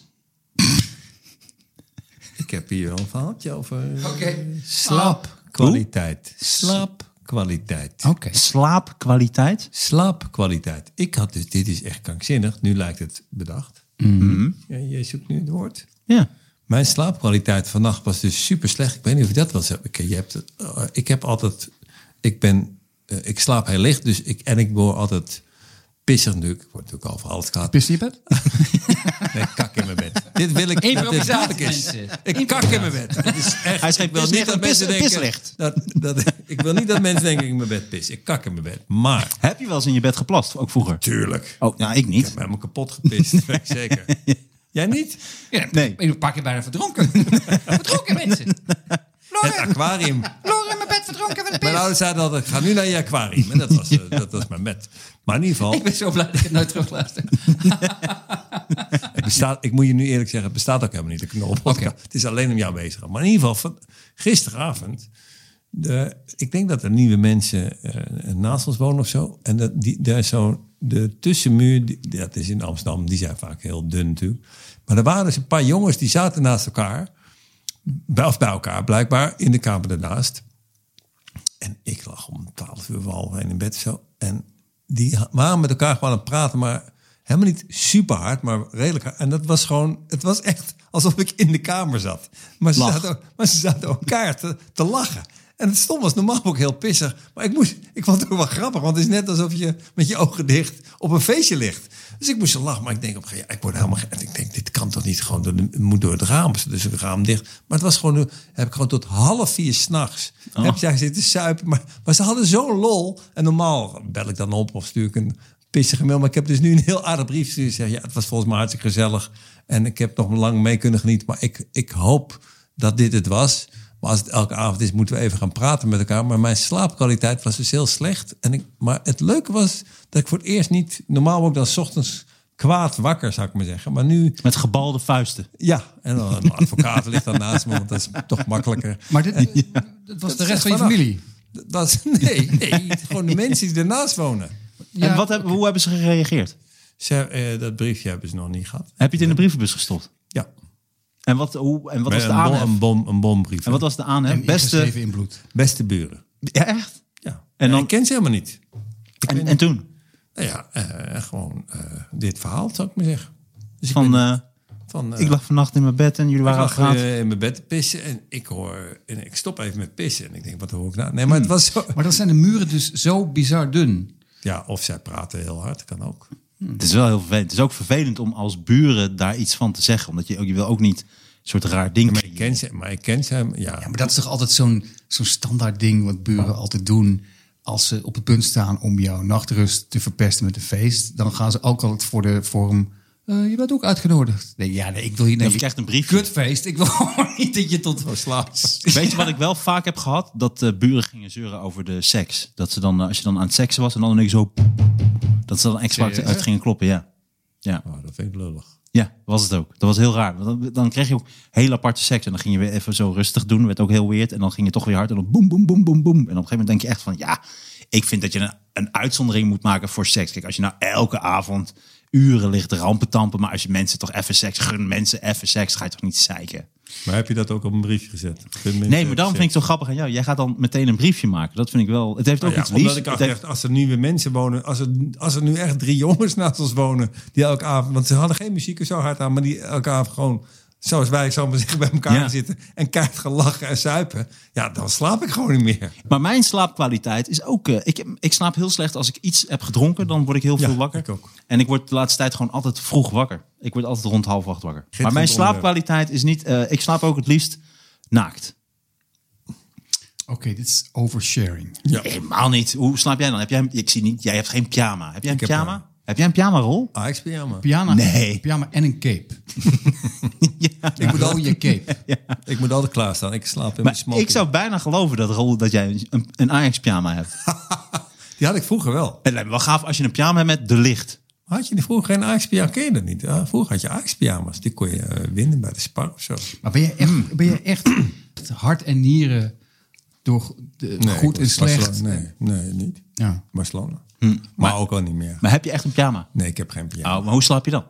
S3: Ik heb hier wel een verhaaltje over eh,
S4: Oké.
S3: slaapkwaliteit. Slaapkwaliteit.
S4: Oké.
S5: Slaapkwaliteit.
S3: Slaapkwaliteit. Ik had dus, dit is echt krankzinnig. Nu lijkt het bedacht. Ja, jij zoekt nu het woord.
S5: Ja.
S3: Mijn slaapkwaliteit vannacht was dus super slecht. Ik weet niet of je dat wel zo. Ik, je hebt, het- eh, ik heb altijd. Ik ben. eh, ik slaap heel licht. Dus ik, en ik word altijd pissig nu. Ik word natuurlijk al verhaald gehad.
S4: Pist je bed?
S3: Nee, kak in mijn bed. Dit wil ik niet dat dit duidelijk is.
S4: mensen.
S3: Ik kak in mijn bed. Dit is echt,
S5: Hij is geen
S3: ik wil
S5: pis-
S3: niet dat
S5: een pis-
S3: mensen
S5: een
S3: denken.
S5: pislicht.
S3: Dat, dat, ik wil niet dat mensen denken dat ik in mijn bed pis. Ik kak in mijn bed. Maar.
S5: Heb je wel eens in je bed geplast? Ook vroeger.
S3: Tuurlijk.
S5: Oh, nou, ik
S3: Ik heb
S5: niet.
S3: me helemaal kapot gepist. dat weet ik zeker. Jij niet?
S4: Ja,
S5: Nee.
S4: Ik ben een paar keer bijna verdronken. verdronken mensen.
S3: Het aquarium.
S4: Loren in mijn bed verdronken van de
S3: Mijn
S4: pis.
S3: ouders zeiden altijd, ga nu naar je aquarium. En dat was, eh, dat was mijn bed. Maar in ieder geval,
S4: Ik ben zo blij dat ik het nooit terugluister.
S3: het bestaat, ik moet je nu eerlijk zeggen, het bestaat ook helemaal niet. De knolpodcast.
S4: Oké.
S3: Het is alleen om jou bezig. Maar in ieder geval, van, gisteravond, de, ik denk dat er nieuwe mensen eh, naast ons wonen of zo. En dat, die, daar is zo, de tussenmuur, die- dat is in Amsterdam, die zijn vaak heel dun natuurlijk. Maar er waren dus een paar jongens die zaten naast elkaar. Bij, of bij elkaar blijkbaar, in de kamer daarnaast. En ik lag om twaalf uur voor half één in bed zo. En die ha- waren met elkaar gewoon aan het praten, maar helemaal niet super hard, maar redelijk hard. En dat was gewoon, het was echt alsof ik in de kamer zat. Maar ze,
S5: Lach.
S3: zaten, maar ze zaten elkaar te, te lachen. En het stom was normaal ook heel pissig. Maar ik, moest, ik vond het ook wel grappig, want het is net alsof je met je ogen dicht op een feestje ligt. Dus ik moest ze lachen, maar ik denk op een gegeven moment, ik word helemaal... ge- en Ik denk, dit kan toch niet gewoon, door de- het moet door het raam, dus het raam dicht. Maar het was gewoon, eh, heb ik gewoon tot half vier s'nachts nachts heb ik daar zitten suipen. Maar, maar ze hadden zo'n lol. En normaal bel ik dan op of stuur ik een pissige mail. Maar ik heb dus nu een heel aardig brief gestuurd. Ze zeggen, ja, het was volgens mij hartstikke gezellig. En ik heb nog lang mee kunnen genieten. Maar ik, ik hoop dat dit het was. Maar als het elke avond is, moeten we even gaan praten met elkaar. Maar mijn slaapkwaliteit was dus heel slecht. En ik, maar het leuke was dat ik voor het eerst niet... Normaal word ik dan 's ochtends kwaad wakker, zou ik maar zeggen. Maar nu...
S5: Met gebalde vuisten.
S3: Ja, en dan een advocaat ligt dan naast me, want dat is toch makkelijker.
S4: Maar dit, dat was de rest van je
S3: Vannacht.
S4: familie.
S3: Dat- Dat is, nee, nee, gewoon de mensen die ernaast wonen.
S4: Ja,
S5: en wat hebben, hoe hebben ze gereageerd?
S3: Ze, eh, dat briefje hebben ze nog niet gehad.
S5: Heb je het in de brievenbus gestopt?
S3: Ja,
S5: En wat, hoe, en wat was
S3: Met
S5: de
S3: een, bom,
S5: aanhef?
S3: een, bom, een bombrief.
S5: En wat was de aanhef?
S4: ingeschreven
S5: Beste...
S4: in bloed.
S3: Beste buren.
S5: Ja, echt?
S3: Ja.
S5: En
S3: En
S5: dan-
S3: dan, ik ken ze helemaal niet.
S5: En, en toen?
S3: Nou ja, eh, gewoon eh, dit verhaal, zou ik maar zeggen. Dus ik,
S5: Van,
S3: ben-
S5: eh,
S3: van, eh,
S5: ik lag vannacht in mijn bed en jullie
S3: ik
S5: waren aan het
S3: lag,
S5: praten.
S3: eh, in mijn bed te pissen en ik hoor... En ik stop even met pissen en ik denk, wat hoor ik nou? Nee, maar het
S5: Hmm.
S3: was zo...
S4: Maar dan zijn de muren dus zo bizar dun.
S3: Ja, of zij praten heel hard, kan ook.
S5: eh, Het is wel heel vervelend. Het is ook vervelend om als buren daar iets van te zeggen. Omdat je, ook, je wil ook niet een soort raar ding
S3: Maar ik
S5: creëren.
S3: ken ze, maar ik ken ze
S4: Ja,
S3: ja.
S4: maar dat is toch altijd zo'n zo'n standaard ding wat buren altijd doen. Als ze op het punt staan om jouw nachtrust te verpesten met een feest, dan gaan ze ook altijd voor de vorm. eh, je bent ook uitgenodigd. Nee, ja, nee, ik wil je
S5: Of
S4: nee,
S5: je krijgt een briefje.
S4: kutfeest. Ik wil gewoon niet dat je tot slaapt.
S5: Weet je wat ik wel vaak heb gehad? Dat eh, buren gingen zeuren over de seks. Dat ze dan, eh, als je dan aan het seksen was en dan ineens zo... Dat ze dan extra
S4: Serieus?
S5: uit gingen kloppen, ja. Ja,
S3: Oh, dat vind ik lullig.
S5: ja, was het ook. Dat was heel raar. Want dan, dan kreeg je ook heel aparte seks. En dan ging je weer even zo rustig doen. Werd ook heel weird. En dan ging je toch weer hard. En dan boem, boem, boem, boem, boem. En op een gegeven moment denk je echt van... Ja, ik vind dat je een, een uitzondering moet maken voor seks. Kijk, als je nou elke avond uren ligt rampen tampen. Maar als je mensen toch even seks... Gun mensen even seks. Ga je toch niet zeiken?
S3: Maar heb je dat ook op een briefje gezet? Dus
S5: Nee, maar daarom vind ik het zo grappig aan jou. Jij gaat dan meteen een briefje maken. Dat vind ik wel... Het heeft ook
S3: eh, Nou ja,
S5: iets liefs.
S3: omdat ik
S5: Het
S3: ook
S5: heeft-
S3: echt, als er nieuwe mensen wonen, als er, als er nu echt drie jongens naast ons wonen, die elke avond, want ze hadden geen muziek er zo hard aan, maar die elke avond gewoon, zoals wij zo maar zeggen, bij elkaar
S5: Ja.
S3: zitten en kaart gaan lachen en zuipen, ja, dan slaap ik gewoon niet meer.
S5: Maar mijn slaapkwaliteit is ook... eh, ik, ik slaap heel slecht als ik iets heb gedronken. Dan word ik heel
S3: Ja,
S5: veel wakker.
S3: ik ook.
S5: En ik word de laatste tijd gewoon altijd vroeg wakker. Ik word altijd rond half acht wakker. Maar mijn
S3: onderwerp.
S5: slaapkwaliteit is niet... eh, ik slaap ook het liefst naakt.
S4: Oké, dit is oversharing.
S3: Ja.
S5: Helemaal niet. Hoe slaap jij dan? Heb jij, ik zie niet, jij hebt geen pyjama. Heb jij een
S3: Ik heb eh,
S5: pyjama?
S3: pyjama.
S5: Heb jij een pyjama-rol?
S3: AX pyjama.
S4: Pyjama,
S5: Nee.
S4: pyjama en een cape. Ik moet al je cape.
S3: Ik moet altijd klaarstaan. Ik slaap in mijn
S5: Maar
S3: smoking.
S5: ik zou bijna geloven dat, Roel, dat jij een, een Ajax-pyjama hebt.
S3: Die had ik vroeger wel.
S5: Het lijkt me wel gaaf als je een pyjama hebt met de licht.
S3: Had je die vroeger geen Ajax-pyjama? Ken je dat niet? Ah, vroeger had je Ajax-pyjama's. Die kon je eh, winnen bij de Spar of zo.
S4: Maar ben je
S3: Mm.
S4: echt, ben je echt het hart en nieren door de,
S3: Nee,
S4: goed en
S3: Barcelona-
S4: slecht?
S3: Nee, nee, niet.
S4: Ja.
S3: Barcelona. maar, ook al niet meer.
S5: Hm, Maar heb je echt een pyjama?
S3: Nee, ik heb geen pyjama.
S5: Oh, maar hoe slaap je dan?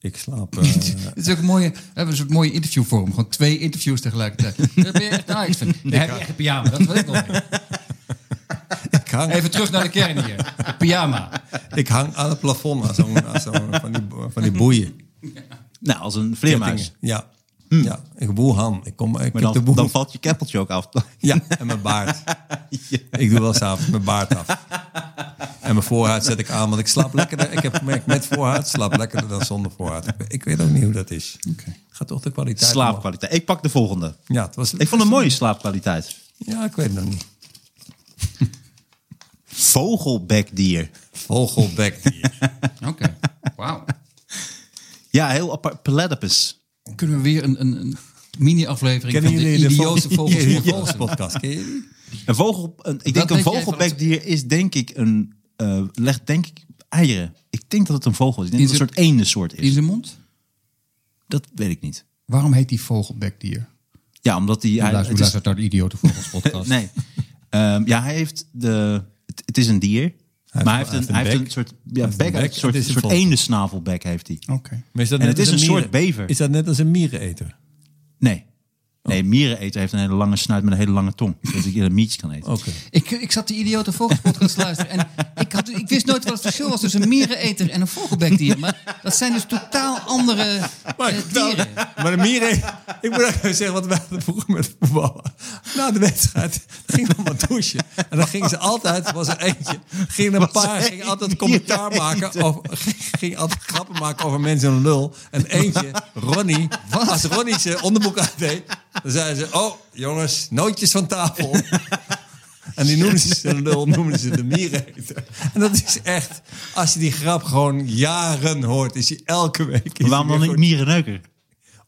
S3: Ik slaap... eh,
S4: Het is ook een mooie, we hebben een soort mooie interviewvorm. Gewoon twee interviews tegelijkertijd. Dan ben je echt een Ajax-fan. Dan heb je echt een pyjama. Dat wil ik nog.
S3: ik, hang,
S4: Even terug naar de kern hier. Een pyjama.
S3: ik hang aan het plafond aan zo'n, aan zo'n- van, die, bo- van die
S5: Hm.
S3: boeien.
S5: Nou, als een vleermuis.
S3: Ja. ja, ik boel ham. Ik, kom, ik
S5: Hm. Maar
S3: heb de
S5: dan,
S3: boel.
S5: dan valt je keppeltje ook af.
S3: Ja, en mijn baard. Ik doe wel s'avonds mijn baard af. En mijn voorhuid zet ik aan, want ik slaap lekkerder. Ik heb gemerkt, met voorhuid slaap lekkerder dan zonder voorhuid. Ik weet ook niet hoe dat is. Het gaat toch de kwaliteit omhoog.
S5: Slaapkwaliteit. Ik pak de volgende.
S3: Ja, het was,
S5: Ik vond een mooie slaapkwaliteit.
S3: Ja, ik weet het nog niet.
S5: Vogelbekdier.
S3: Vogelbekdier.
S4: Oké. Wauw.
S5: Ja, heel apart. Platypus.
S4: Kunnen we weer een, een, een mini-aflevering van
S3: Kennen
S4: de
S3: jullie de
S4: idioze
S3: vogel-
S4: vogels
S3: Ja,
S4: voor
S3: ja.
S4: vogels?
S3: podcast? Ken je die?
S5: Een vogel, een- ik denk
S4: weet
S5: een
S4: jij van
S5: vogelbekdier is denk ik een... eh, legt denk ik eieren. Ik denk dat het een vogel is. Ik denk
S4: Is
S5: dat het een
S4: het-
S5: soort eendensoort
S4: In
S5: is.
S4: zijn mond?
S5: Dat weet ik niet.
S4: Waarom heet die vogelbekdier?
S5: Ja, omdat die...
S4: Ja,
S5: hij-
S4: luister,
S5: het is-
S4: luister naar de idiote vogels podcast.
S5: nee. Ehm, ja, hij heeft de... Het, het is een dier. maar hij heeft,
S3: hij
S5: een,
S3: heeft een
S5: hij heeft
S3: bek.
S5: een soort,
S3: Hij
S5: ja,
S3: heeft een
S5: bek,
S3: bek.
S5: een soort,
S3: Het is een
S5: soort
S3: vogel.
S5: eendensnavelbek heeft hij.
S4: Oké.
S3: Maar is dat
S5: En
S3: net
S5: het is
S3: als
S5: een soort
S3: mieren-
S5: bever.
S3: Is dat net als een miereneter?
S5: Nee. Nee, miereneter heeft een hele lange snuit met een hele lange tong. Zodat hij een mietje kan eten.
S3: Oké.
S4: Ik, ik zat de idiote vogels podcast te luisteren. En ik, had, ik wist nooit wat het verschil was tussen een miereneter en een vogelbekdier. Maar dat zijn dus totaal andere
S3: Maar,
S4: eh, dieren.
S3: maar de mieren... Ik moet ook even zeggen wat wij hadden vroeger met voetballen. Na de wedstrijd ging nog wat douchen. En dan gingen ze altijd, was er eentje, ging een paar, ging altijd commentaar maken, over, ging altijd grappen maken over mensen en lul. En eentje, Ronnie, als Ronnie zijn onderboek uitdeed, dan zeiden ze, oh jongens, nootjes van tafel. En die noemden ze een lul, noemden ze de miereneter. En dat is echt, als je die grap gewoon jaren hoort, is die elke week. is die
S5: Maar waarom dan
S3: weer
S5: niet
S3: goed
S5: mierenneuker?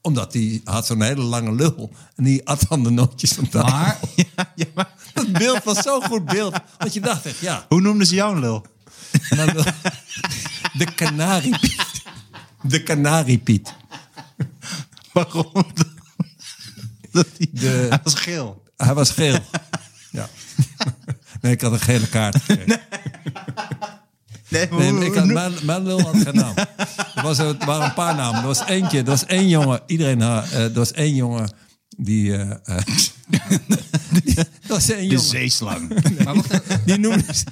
S3: omdat die had zo'n hele lange lul. En die at dan de nootjes van tafel.
S4: Maar
S3: Dat beeld was zo'n goed beeld. Dat je dacht echt, ja.
S5: Hoe noemden ze jou een lul?
S3: En dan de- de kanariepiet. De kanariepiet.
S5: Waarom? Dat hij,
S3: De-
S5: hij was geel.
S3: Hij was geel. Ja. Nee, ik had een gele kaart gekregen.
S5: Nee,
S3: Nee, maar ik had, mijn, mijn lul had geen naam. Er, was, er waren een paar namen. Er was eentje, er was één jongen, iedereen had, eh, er was één jongen die... eh, eh, er was één
S5: de
S3: jongen.
S5: zeeslang.
S4: Maar wacht even.
S3: Die noemden ze-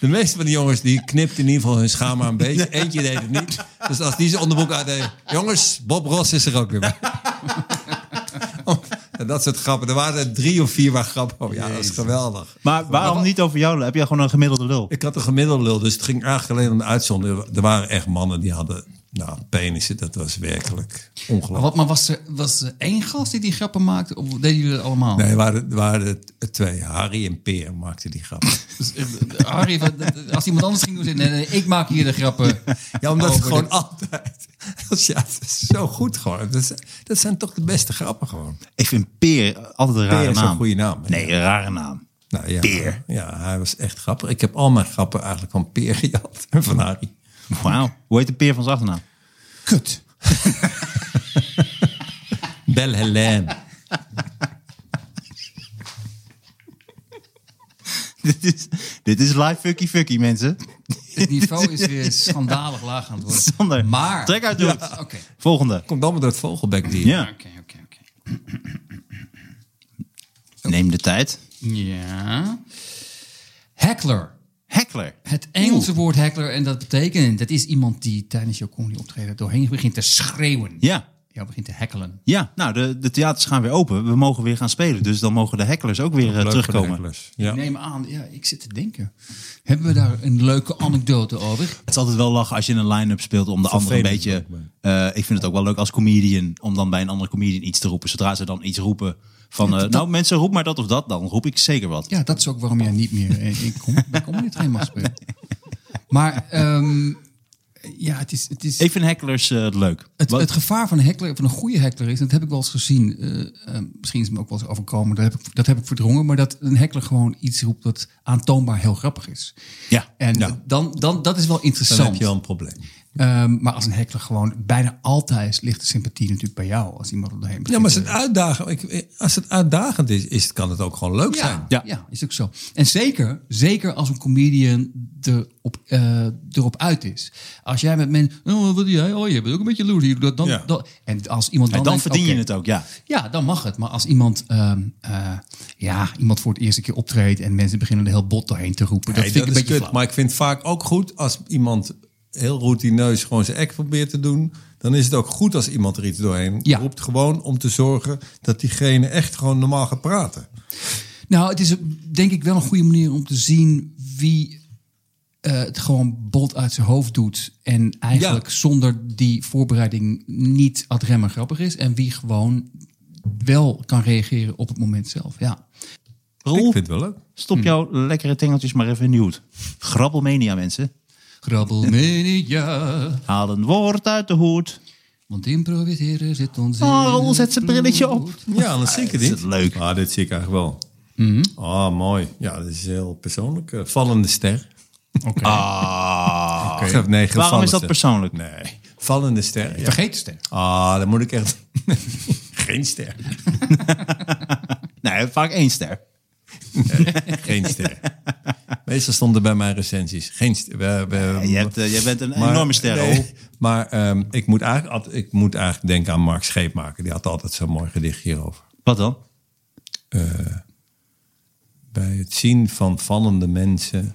S3: De meeste van die jongens die knipten in ieder geval hun schaam maar een beetje. Eentje deed het niet. Dus als die zijn onderbroek uitdeed... Jongens, Bob Ross is er ook weer bij. En dat soort grappen. Er waren er drie of vier waar grappen over. Ja, dat is geweldig.
S5: Maar waarom niet over jou? lul? Heb jij gewoon een gemiddelde lul?
S3: Ik had een gemiddelde lul, dus het ging eigenlijk alleen om de uitzondering. Er waren echt mannen die hadden... Nou, penissen, dat was werkelijk
S4: Maar
S3: ongelooflijk.
S4: wat- maar was er, was er één gast die die grappen maakte? Of deden jullie dat allemaal?
S3: Nee, er waren, er waren er twee. Harry en Peer maakten die grappen.
S4: Dus, eh, Harry, wat- als iemand anders ging doen, zei, nee, nee, ik maak hier de grappen.
S3: Ja, omdat
S4: over
S3: het gewoon
S4: de-
S3: altijd. Ja, het is zo goed gewoon. Dat, zijn- dat zijn toch de beste grappen gewoon.
S5: Ik vind Peer altijd een rare
S3: Peer is een
S5: naam.
S3: goede naam, hè?
S5: Nee, een rare naam.
S3: Nou, ja,
S5: Peer.
S3: Ja, hij was echt grappig. Ik heb al mijn grappen eigenlijk van Peer gejat en van Harry.
S5: Wauw. Hoe heet de Peer van zijn achternaam?
S3: Kut. Bel Helene.
S5: dit, is, dit is live fucky fucky, mensen.
S4: Het niveau is weer schandalig laag aan het worden.
S5: Sander,
S4: Maar...
S5: trek uit de hoed.
S4: Oké, oké,
S5: Volgende.
S3: Komt allemaal door het vogelbekdier.
S5: Ja.
S4: oké, oké.
S5: Neem de tijd.
S4: Ja. Heckler.
S5: Heckler.
S4: Het Engelse woord heckler, en dat betekent, dat is iemand die tijdens jouw comedy optreden doorheen begint te schreeuwen.
S5: Ja.
S4: Jou begint te heckelen.
S5: Ja, nou, de, de theaters gaan weer open. We mogen weer gaan spelen. Dus dan mogen de hecklers ook weer eh,
S3: Leuk voor de
S5: terugkomen.
S3: hecklers. Ja.
S4: Neem aan, ja, ik zit te denken. Hebben we daar een leuke anekdote over?
S5: Het is altijd wel lachen als je in een line-up speelt om de ander een beetje...
S3: Vervelend, lijkt
S5: eh, ik vind het ook wel leuk als comedian om dan bij een andere comedian iets te roepen. Zodra ze dan iets roepen van... eh, nou, mensen, roep maar dat of dat. Dan roep ik zeker wat.
S4: Ja, dat is ook waarom jij niet meer eh, in kom, bij Comedy Train mag spelen. Maar ehm, ja, het is... Het is
S5: Ik vind hecklers eh, leuk.
S4: Het,
S5: Wat-
S4: het gevaar van een heckler, van een goede heckler is, dat heb ik wel eens gezien. eh, eh, misschien is het me ook wel eens overkomen, dat heb, ik, dat heb ik verdrongen. Maar dat een heckler gewoon iets roept dat aantoonbaar heel grappig is.
S5: ja,
S4: En
S5: ja.
S4: dan, dan, dat is wel interessant.
S3: Dan heb je wel een probleem.
S4: Ehm, maar als een heckler gewoon bijna altijd ligt de sympathie natuurlijk bij jou. Als iemand er doorheen
S3: Ja,
S4: begint
S3: maar als
S4: te-
S3: het uitdagend, ik- als het uitdagend is, is, kan het ook gewoon leuk zijn.
S5: Ja.
S4: Ja. ja, is ook zo. En zeker, zeker als een comedian erop, eh, erop uit is. Als jij met mensen, oh, wat doe jij? Oh, je bent ook een beetje loer. Dat, dan,
S3: Ja.
S4: dat- en als iemand dan,
S5: En dan
S4: denkt,
S5: verdien je
S4: oké,
S5: het ook, ja.
S4: Ja, dan mag het. Maar als iemand, ehm, eh, ja, iemand voor het eerste keer optreedt en mensen beginnen er heel bot doorheen te roepen, dat
S3: Nee,
S4: vind ik
S3: is
S4: een beetje
S3: kut,
S4: flauw.
S3: Maar ik vind het vaak ook goed als iemand heel routineus gewoon zijn act probeert te doen. Dan is het ook goed als iemand er iets doorheen
S4: Ja.
S3: roept. Gewoon om te zorgen dat diegene echt gewoon normaal gaat praten.
S4: Nou, het is denk ik wel een goede manier om te zien wie eh, het gewoon bot uit zijn hoofd doet. En eigenlijk
S3: Ja.
S4: zonder die voorbereiding niet ad rem en grappig is. En wie gewoon wel kan reageren op het moment zelf. Ja.
S3: Ik
S5: Roel,
S3: vind het wel leuk.
S5: stop jouw lekkere tengeltjes maar even in de hoed. Grabbelmania, mensen.
S4: Grabbelmania,
S5: Haal een woord uit de hoed.
S4: want improviseren zit ons in.
S5: Oh, Roel zet zijn brilletje op.
S3: Ja, dan zie ik het
S5: is
S3: niet.
S5: het leuk.
S3: Ah, dit zie ik eigenlijk wel. Ah, mooi. Ja, dat is heel persoonlijk. Eh, vallende ster.
S5: Ah.
S3: Ik heb nee, geen
S5: Waarom is dat
S3: vallende
S5: persoonlijk?
S3: ster. Nee, vallende ster. ja.
S4: Vergeet de ster.
S3: Ah, dan moet ik echt... geen ster.
S5: Nee, vaak één ster.
S3: Geen ster. Meestal stonden bij mijn recensies. Geen ster. We, we,
S5: Je, hebt, eh, je bent een
S3: maar-
S5: enorme ster, oh.
S3: nee,
S5: Roel.
S3: maar ehm, ik, moet eigenlijk, altijd- ik moet eigenlijk denken aan Mark Scheepmaker. Die had altijd zo'n mooi gedicht hierover.
S5: Wat dan?
S3: Bij het zien van vallende mensen...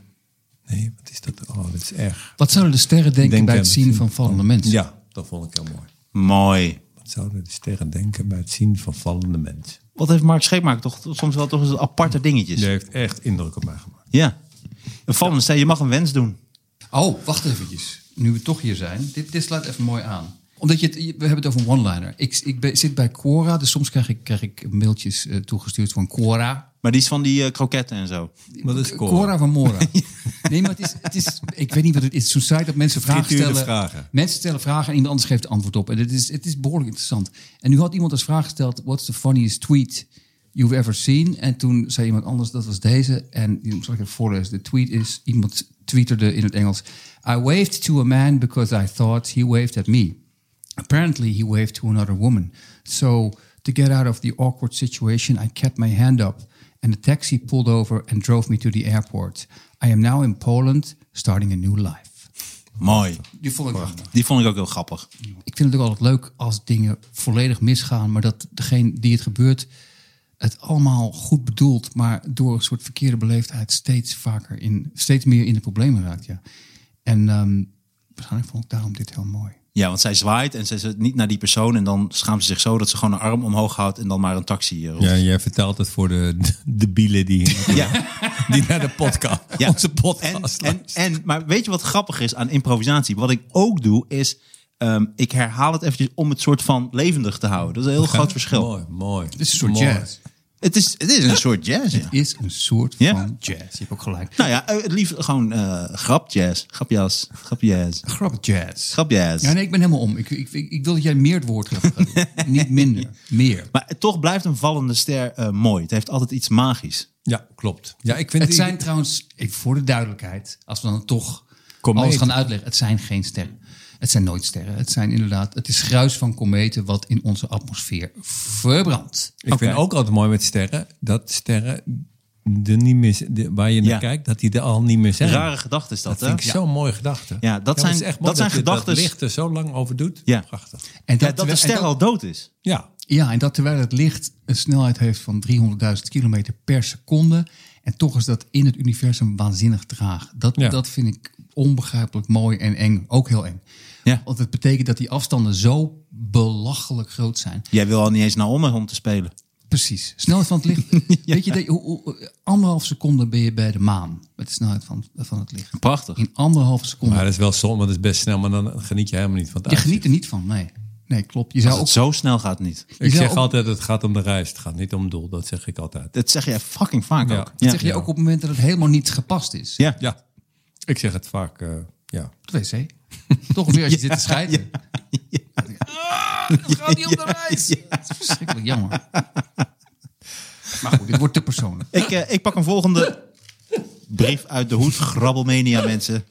S3: Nee, wat is dat? Oh, dat is erg.
S4: Wat zouden de sterren denken
S3: Denk
S4: bij
S3: aan
S4: het
S3: het
S4: zien van vallende mensen?
S3: Ja, dat vond ik heel mooi.
S5: Mooi.
S3: Wat zouden de sterren denken bij het zien van vallende mensen?
S5: Wat heeft Mark Scheepmaker toch soms wel toch eens aparte dingetjes?
S3: Die heeft echt indruk op mij gemaakt.
S5: Ja. Een vallende ster, je mag een wens doen.
S4: Oh, wacht eventjes. Nu we toch hier zijn. Dit, dit slaat even mooi aan. Omdat je het, je- we hebben het over een one-liner. Ik, ik ben, zit bij Quora, dus soms krijg ik, krijg ik mailtjes eh, toegestuurd van Quora.
S5: Maar die is van die eh, kroketten en zo.
S3: Wat is
S4: Quora,
S3: Cora?
S4: van Mora. Nee, maar het is, het is, ik weet niet wat het is. Zo'n site dat mensen vragen
S3: Frituurde
S4: stellen.
S3: vragen.
S4: Mensen stellen vragen en iemand anders geeft het antwoord op. En het is, het is behoorlijk interessant. En nu had iemand als vraag gesteld: What's the funniest tweet you've ever seen? En toen zei iemand anders: Dat was deze. En die zal ik even voorlezen. De tweet is: Iemand twitterde in het Engels: I waved to a man because I thought he waved at me. Apparently he waved to another woman. So to get out of the awkward situation, I kept my hand up. And the taxi pulled over and drove me to the airport. I am now in Poland, starting a new life.
S5: Mooi.
S4: Die vond ik wel
S5: Die vond ik ook heel grappig.
S4: ik vind het ook altijd leuk als dingen volledig misgaan, maar dat degene die het gebeurt het allemaal goed bedoelt, maar door een soort verkeerde beleefdheid steeds vaker in, steeds meer in de problemen raakt. Ja. En ehm, waarschijnlijk vond ik daarom dit heel mooi.
S5: Ja, want zij zwaait en zij zit niet naar die persoon. En dan schaamt ze zich zo dat ze gewoon een arm omhoog houdt en dan maar een taxi eh, roept.
S3: Ja, jij vertelt het voor de debielen die,
S5: Ja.
S3: die naar de podcast,
S5: Ja.
S3: onze
S5: En,
S3: podcast
S5: en, en, maar weet je wat grappig is aan improvisatie? Wat ik ook doe is, ehm, ik herhaal het eventjes om het soort van levendig te houden. Dat is een heel groot verschil.
S3: Mooi, mooi. Het
S4: is een soort jazz.
S5: Het is, het is een soort jazz. ja.
S4: Is een soort
S5: Ja.
S4: van jazz. Je hebt ook gelijk.
S5: Nou ja, eh, het liefst gewoon eh grap jazz, grap jazz, grap jazz,
S4: Grap jazz.
S5: grap jazz.
S4: Ja, nee, ik ben helemaal om. Ik, ik, ik, ik wil dat jij meer het woord gaat doen. Niet minder. Meer.
S5: Maar toch blijft een vallende ster eh, mooi. Het heeft altijd iets magisch.
S3: Ja, klopt. Ja, ik vind
S4: Het zijn trouwens, even voor de duidelijkheid, als we dan toch
S3: Kometen.
S4: alles gaan uitleggen, het zijn geen sterren. Het zijn nooit sterren. Het zijn inderdaad, het is gruis van kometen wat in onze atmosfeer verbrandt.
S3: ik vind ook altijd mooi met sterren dat sterren de niet meer, z- de- waar je naar
S5: Ja.
S3: kijkt, dat die er al niet meer zijn.
S5: Rare gedachte is dat,
S3: dat
S5: hè?
S3: vind ik zo'n mooie gedachte.
S5: Ja, dat
S3: maar het
S5: zijn-
S3: is echt
S5: dat zijn
S3: je
S5: gedachtes-
S3: Dat licht er zo lang over doet.
S5: Ja.
S3: Prachtig.
S4: En
S5: Ja, dat de
S4: terwijl-
S5: ster
S4: en dat-
S5: al dood is.
S3: Ja,
S4: Ja, en dat terwijl het licht een snelheid heeft van 300.000 kilometer per seconde. En toch is dat in het universum waanzinnig traag. Dat,
S3: Ja.
S4: dat vind ik onbegrijpelijk mooi en eng. Ook heel eng.
S5: Ja.
S4: Want het betekent dat die afstanden zo belachelijk groot zijn.
S5: Jij wil al niet eens naar Ommen om te spelen.
S4: Precies. Snelheid van het licht. Weet je, dat je- hoe, hoe- anderhalf seconde ben je bij de maan. Met de snelheid van, van het licht.
S5: Prachtig.
S4: In anderhalve seconde.
S3: maar dat is wel zonde, want dat is best snel, maar dan geniet je helemaal niet van het
S4: je
S3: uitzicht.
S4: geniet er niet van, nee. Nee, klopt. Je zou
S5: Als
S4: ook...
S5: het zo snel gaat niet.
S3: Ik
S4: Je zou
S3: zeg
S4: ook-
S3: altijd, het gaat om de reis, het gaat niet om het doel. Dat zeg ik altijd.
S5: Dat zeg jij fucking vaak
S3: Ja.
S5: ook.
S3: Dat
S4: Dat zeg je ook op het moment dat het helemaal niet gepast is.
S5: Ja.
S3: Ja, ik zeg het vaak, eh, ja.
S4: Op de wc. Toch weer als je zit te schijten. Ah, dat gaat niet op de reis. Dat is verschrikkelijk jammer. Maar goed, dit wordt te persoonlijk.
S5: Ik, eh, ik pak een volgende brief uit de hoed. Grabbelmania, mensen.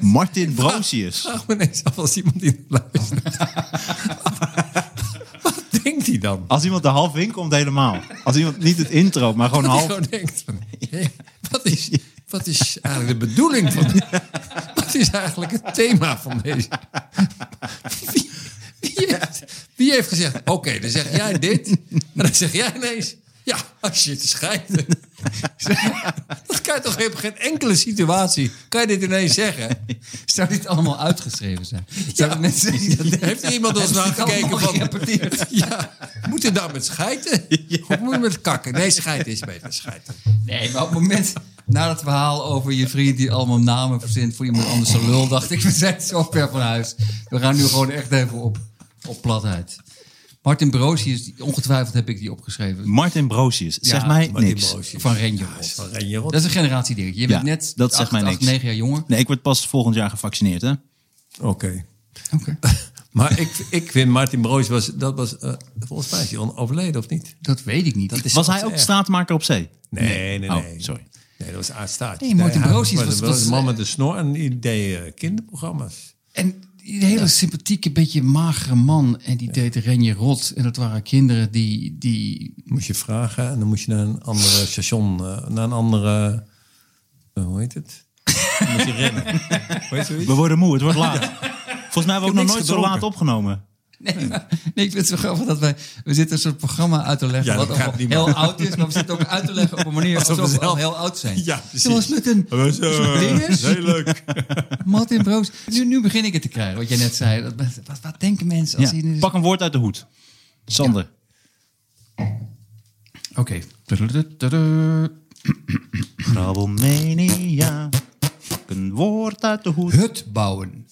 S5: Martin Brosius.
S3: Vraag me ineens af als iemand die luistert. Wat denkt hij dan?
S5: Als iemand de half in komt, helemaal. Als iemand niet het intro, maar gewoon
S3: Dat hij
S5: half.
S3: gewoon denkt van, hé, wat, is, wat is eigenlijk de bedoeling van... Wat is eigenlijk het thema van deze... Wie, wie, heeft, wie heeft gezegd, oké, dan zeg jij dit. En dan zeg jij ineens, ja, als je het schijnt. Dat kan je toch op geen enkele situatie... Kan je dit ineens zeggen?
S4: Zou dit allemaal uitgeschreven zijn? Zou
S3: Ja.
S4: dit mensen die dat denken?
S3: Heeft iemand ons nou gekeken van... Ja, moet het nou met schijten? Of moet het met kakken? Nee, schijten is beter, schijten.
S4: Nee, maar op het moment... Na dat verhaal over je vriend die allemaal namen verzint voor iemand anders een lul... dacht ik, we zijn zo ver van huis. We gaan nu gewoon echt even op, op platheid. Martin Broosius, die- ongetwijfeld heb ik die opgeschreven.
S5: Martin Brosius. Zeg
S4: Ja,
S5: mij
S3: Martin
S5: niks.
S3: Broosius.
S4: Van Renjerot.
S3: Van Renje Rot.
S4: Dat is een generatie dingetje. Je bent
S5: Ja,
S4: net
S5: dat zegt
S4: acht,
S5: mij
S4: acht,
S5: niks.
S4: negen jaar jonger.
S5: Nee, ik word pas volgend jaar gevaccineerd, hè?
S3: Oké.
S4: Oké.
S3: Maar ik, ik vind Martin Broos, was, dat was, eh, volgens mij is hij al overleden, of niet?
S4: Dat weet ik niet. Dat is
S5: Was hij
S3: echt
S5: ook
S3: erg.
S5: straatmaker op zee?
S3: Nee, nee, nee.
S5: Oh, sorry.
S3: Nee, dat was aardstaat.
S4: Nee, Martin Broos is- was-
S3: was,
S4: was-
S3: een man met een snor en die deed eh, kinderprogramma's.
S4: En die hele sympathieke, beetje magere man. En die deed Renje Rot. En dat waren kinderen die... die
S3: Moest je vragen en dan moest je naar een andere station, eh, naar een andere, eh, hoe heet het? Dan moest je rennen. Hoe heet zoiets?
S5: We worden moe, het wordt laat. Volgens mij hebben we ook nog
S3: niks
S5: nooit zo
S3: gedronken.
S5: laat opgenomen.
S4: nee, maar- nee, ik vind het zo grappig dat wij... We zitten een soort programma uit te leggen
S3: Ja,
S4: wat
S3: dat gaat
S4: al
S3: niet
S4: heel oud is. Maar we zitten ook uit te leggen op een manier
S3: Alsof
S4: alsof,
S3: we
S4: we al
S3: zelf-
S4: heel oud zijn.
S3: Ja, precies.
S4: Zoals met een...
S3: Dat was, eh,
S4: zo'n dinges.
S3: heel leuk.
S4: Martin Broos. Nu, nu begin ik het te krijgen, wat jij net zei. Dat- Wat, wat denken mensen als
S5: Ja.
S4: ze...
S5: Pak een woord uit de hoed. Sander.
S4: Oké. Tududududu.
S5: Grabbelmania. Pak Een woord uit de hoed.
S4: Hut bouwen.